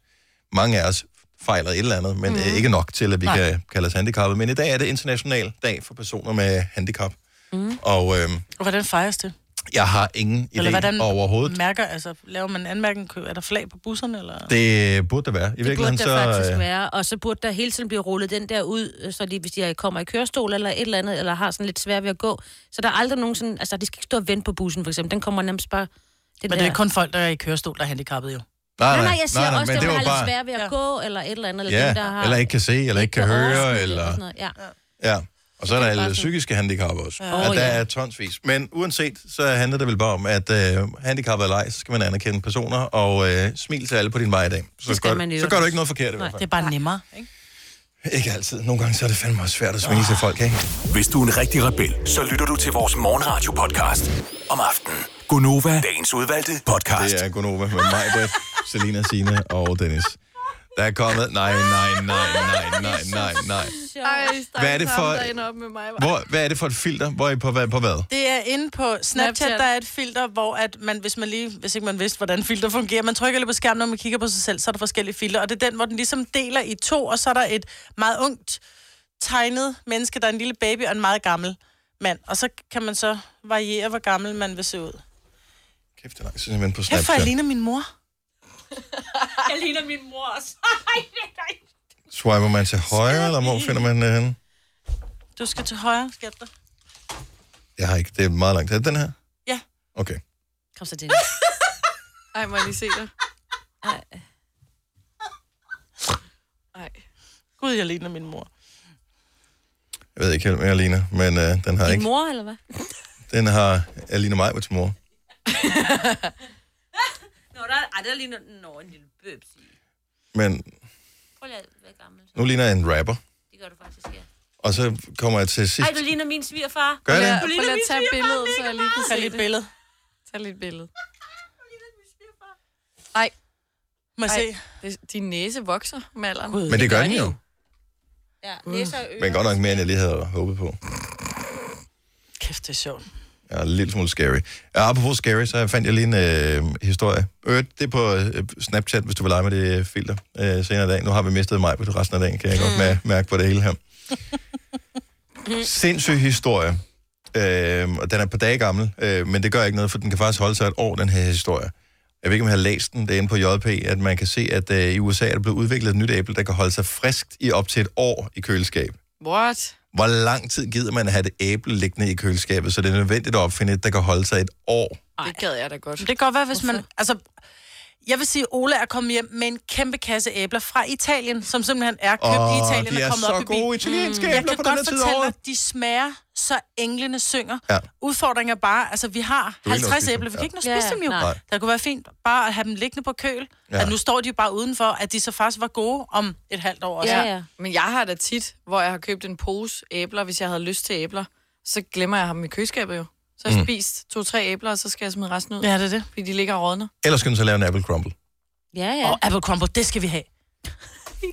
[SPEAKER 1] mange af os fejler et eller andet, men mm. ikke nok til, at vi
[SPEAKER 5] Nej.
[SPEAKER 1] Nej. kan kalde os handicappet. Men i dag er det international dag for personer med handicap, Mm. og øh,
[SPEAKER 2] Og hvordan fejres det?
[SPEAKER 1] jeg har ingen idé
[SPEAKER 2] Eller hvordan
[SPEAKER 1] overhovedet.
[SPEAKER 2] mærker, altså, laver man anmærken, er der flag på busserne, eller?
[SPEAKER 1] Det burde der være. I
[SPEAKER 3] Det burde
[SPEAKER 1] virkeligheden så,
[SPEAKER 3] der faktisk
[SPEAKER 1] øh,
[SPEAKER 3] være, og så burde der hele tiden blive rullet den der ud, øh, så de, hvis de kommer i kørestol eller et eller andet, eller har sådan lidt svært ved at gå, så der er aldrig nogen sådan, altså de skal ikke stå og vente på bussen for eksempel, den kommer nærmest bare...
[SPEAKER 2] Men det er ikke kun folk, der er i kørestol, der er handicappede jo.
[SPEAKER 1] Nej,
[SPEAKER 3] Nej,
[SPEAKER 1] nej,
[SPEAKER 3] nej, jeg siger
[SPEAKER 1] nej, nej,
[SPEAKER 3] også,
[SPEAKER 1] men
[SPEAKER 3] dem,
[SPEAKER 1] det var
[SPEAKER 3] der har
[SPEAKER 1] bare-
[SPEAKER 3] lidt svært ved at gå, eller et eller andet, eller
[SPEAKER 1] ja,
[SPEAKER 3] dem, der har...
[SPEAKER 1] eller ikke kan se, eller ikke kan høre, eller...
[SPEAKER 3] Sådan noget. Ja.
[SPEAKER 1] Ja, og så er der alle psykiske handicap også.
[SPEAKER 3] Ja.
[SPEAKER 1] Ja.
[SPEAKER 3] Åh,
[SPEAKER 1] Oh, der
[SPEAKER 3] ja.
[SPEAKER 1] er tonsvis. Men uanset, så handler det vel bare om, at øh, handicap eller ej, så skal man anerkende personer og øh, smil til alle på din vej i dag. Så, gør, du- så gør du ikke noget forkert i hvert
[SPEAKER 2] Nej, det er
[SPEAKER 1] fald.
[SPEAKER 2] bare nemmere. Ikke?
[SPEAKER 1] Ikke altid. Nogle gange så er det fandme også svært at smile til folk, ikke?
[SPEAKER 5] Hvis du er en rigtig rebel, så lytter du til vores morgenradio-podcast om aftenen. Gonova, dagens udvalgte podcast.
[SPEAKER 1] Det er Gunova med mig, Britt, Selina, Sine og Dennis. Der er kommet... Nej, nej, nej, nej, nej, nej, nej.
[SPEAKER 4] Ej,
[SPEAKER 1] Hvad er det for-
[SPEAKER 4] Op med mig,
[SPEAKER 1] Hvor, hvad er det for et filter? Hvor er I på, hvad, på hvad?
[SPEAKER 2] Det er inde på Snapchat,
[SPEAKER 4] Snapchat.
[SPEAKER 2] der er et filter, hvor at man, hvis, man lige, hvis ikke man vidste, hvordan filter fungerer, man trykker lidt på skærmen, når man kigger på sig selv, så er der forskellige filter, og det er den, hvor den ligesom deler i to, og så er der et meget ungt tegnet menneske, der er en lille baby og en meget gammel mand, og så kan man så variere, hvor gammel man vil se ud.
[SPEAKER 1] Kæft, det er langt siden, jeg vendte på
[SPEAKER 2] Kæft, for jeg
[SPEAKER 1] Snapchat.
[SPEAKER 2] ligner min mor.
[SPEAKER 3] Jeg ligner min mor også.
[SPEAKER 1] Swiper man til højre, eller hvor finder man det henne?
[SPEAKER 2] Du skal til højre, skat dig.
[SPEAKER 1] Jeg har ikke. Det er meget langt. Er det den her?
[SPEAKER 2] Ja.
[SPEAKER 1] Okay.
[SPEAKER 3] Kom så, Dennis.
[SPEAKER 4] Ej, må jeg lige se dig.
[SPEAKER 2] Gud, jeg ligner min mor.
[SPEAKER 1] Jeg ved ikke helt, hvad jeg ligner, men øh, den har
[SPEAKER 3] Din
[SPEAKER 1] ikke...
[SPEAKER 3] mor, eller hvad?
[SPEAKER 1] Den har... Jeg ligner mig med til mor.
[SPEAKER 3] Nå, der, ej, der ligner... Nå, en lille bøbs.
[SPEAKER 1] Men
[SPEAKER 3] Prøv lige at være gammel.
[SPEAKER 1] nu ligner jeg en rapper.
[SPEAKER 3] Det gør du faktisk, ja.
[SPEAKER 1] Og så kommer jeg til sidst.
[SPEAKER 3] Ej, du ligner min svigerfar.
[SPEAKER 1] Gør det?
[SPEAKER 4] Prøv lige at tage et billede, så jeg lige kan se
[SPEAKER 2] Tag lige et
[SPEAKER 4] det.
[SPEAKER 2] billede.
[SPEAKER 4] Tag lige et billede. Ej.
[SPEAKER 2] Må jeg
[SPEAKER 4] se? Det, din næse vokser med alderen.
[SPEAKER 1] Men det, gør den jo.
[SPEAKER 3] Ja, næser og
[SPEAKER 1] Mm. Men godt nok mere, end jeg lige havde håbet på.
[SPEAKER 2] Kæft, det er sjovt.
[SPEAKER 1] Jeg er en lille smule scary. Ja, apropos scary, så fandt jeg lige en øh, historie. Øh, det er på øh, Snapchat, hvis du vil lege med det øh, filter øh, senere i dag. Nu har vi mistet mig på resten af dagen, kan jeg godt mær- mærke på det hele her. Sindssyg historie. Øh, og den er på dage gammel, øh, men det gør ikke noget, for den kan faktisk holde sig et år, den her historie. Jeg ved ikke, om jeg har læst den, det er inde på JP, at man kan se, at øh, i USA er der blevet udviklet et nyt æble, der kan holde sig friskt i op til et år i køleskab.
[SPEAKER 4] What?
[SPEAKER 1] Hvor lang tid gider man at have et æble liggende i køleskabet, så det er nødvendigt at opfinde et, der kan holde sig et år?
[SPEAKER 4] Det gad jeg da godt.
[SPEAKER 2] Det kan godt være, hvis man... Altså, jeg vil sige, at Ola er kommet hjem med en kæmpe kasse æbler fra Italien, som simpelthen er købt
[SPEAKER 1] Åh,
[SPEAKER 2] i Italien
[SPEAKER 1] de
[SPEAKER 2] og
[SPEAKER 1] er
[SPEAKER 2] kommet
[SPEAKER 1] så
[SPEAKER 2] op i bil.
[SPEAKER 1] gode italienske
[SPEAKER 2] Jeg
[SPEAKER 1] æbler
[SPEAKER 2] kan
[SPEAKER 1] på den
[SPEAKER 2] godt
[SPEAKER 1] her tid af
[SPEAKER 2] fortælle dig,
[SPEAKER 1] året.
[SPEAKER 2] at de smager, så englene synger.
[SPEAKER 1] Ja.
[SPEAKER 2] Udfordringen er bare, altså vi har
[SPEAKER 1] ikke nå at
[SPEAKER 2] 50
[SPEAKER 1] spise dem,
[SPEAKER 2] æbler, vi
[SPEAKER 1] ja.
[SPEAKER 2] kan ikke nå
[SPEAKER 1] Ja,
[SPEAKER 2] at spise dem jo.
[SPEAKER 1] nej.
[SPEAKER 2] Der kunne være fint bare at have dem liggende på køl,
[SPEAKER 1] Ja.
[SPEAKER 2] at nu står de jo bare udenfor, at de så faktisk var gode om et halvt år. også.
[SPEAKER 4] Ja, ja. Men jeg har da tit, hvor jeg har købt en pose æbler, hvis jeg havde lyst til æbler, så glemmer jeg ham i køleskabet jo. Så har jeg
[SPEAKER 1] Mm.
[SPEAKER 4] spist to-tre æbler, og så skal jeg smide resten ud.
[SPEAKER 2] Ja, det er det.
[SPEAKER 4] Fordi de ligger og rådner.
[SPEAKER 1] Ellers kan du så lave en apple crumble.
[SPEAKER 3] Ja, ja.
[SPEAKER 2] Og apple crumble, det skal vi have.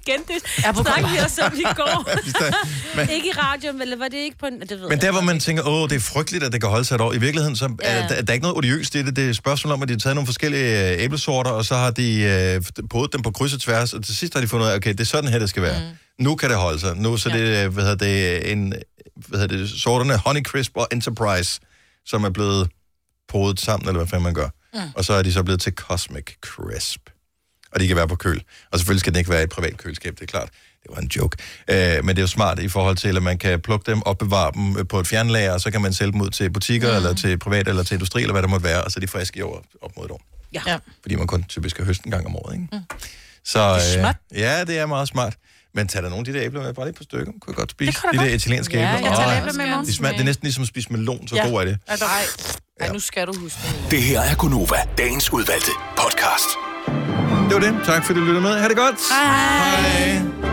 [SPEAKER 3] Igen, det
[SPEAKER 2] Apple
[SPEAKER 3] snakker
[SPEAKER 2] crumble.
[SPEAKER 3] vi også om i går.
[SPEAKER 1] Men-
[SPEAKER 3] ikke i radio, men var det ikke på en... Det ved
[SPEAKER 1] Men
[SPEAKER 3] jeg
[SPEAKER 1] der,
[SPEAKER 3] ikke.
[SPEAKER 1] hvor man tænker, åh, det er frygteligt, at det kan holde sig et år. I virkeligheden, så er
[SPEAKER 3] Ja.
[SPEAKER 1] der, der er ikke noget odiøst i det. Det er et spørgsmål om, at de har taget nogle forskellige øh, æblesorter, og så har de øh, podet dem på kryds og tværs, og til sidst har de fundet ud af, okay, det er sådan her, det skal være. Mm. Nu kan det holde sig. Nu så ja. det, øh, hvad hedder det, en, hvad hedder det, sorterne Honeycrisp og Enterprise, som er blevet podet sammen, eller hvad fanden man gør. Mm. Og så er de så blevet til Cosmic Crisp. Og de kan være på køl. Og selvfølgelig skal den ikke være i et privat køleskab, det er klart. Det var en joke. Øh, men det er jo smart i forhold til, at man kan plukke dem, opbevare dem øh, på et fjernlager, og så kan man sælge dem ud til butikker, mm. eller til privat, eller til industri, eller hvad det måtte være, og så er de friske i år, op mod et år.
[SPEAKER 3] Ja.
[SPEAKER 2] ja.
[SPEAKER 1] Fordi man kun typisk har høst en gang om året, ikke?
[SPEAKER 2] Mm.
[SPEAKER 1] Så, det er smart. Øh, ja, det er meget smart. Men tag da nogle af de der æbler med, bare lige på stykker. Kunne jeg godt spise
[SPEAKER 4] kan du
[SPEAKER 1] de der
[SPEAKER 4] godt.
[SPEAKER 1] italienske
[SPEAKER 4] Ja,
[SPEAKER 1] æbler.
[SPEAKER 4] jeg tager
[SPEAKER 1] Åh,
[SPEAKER 4] æbler med i morgen.
[SPEAKER 1] de smager, det er næsten ligesom at spise melon, så ja. god er det.
[SPEAKER 4] Ej, ej, nu skal du huske det.
[SPEAKER 5] Det her er Gunova, dagens udvalgte podcast.
[SPEAKER 1] Det var det. Tak fordi du lyttede med. Ha' det godt. Hej. Hej.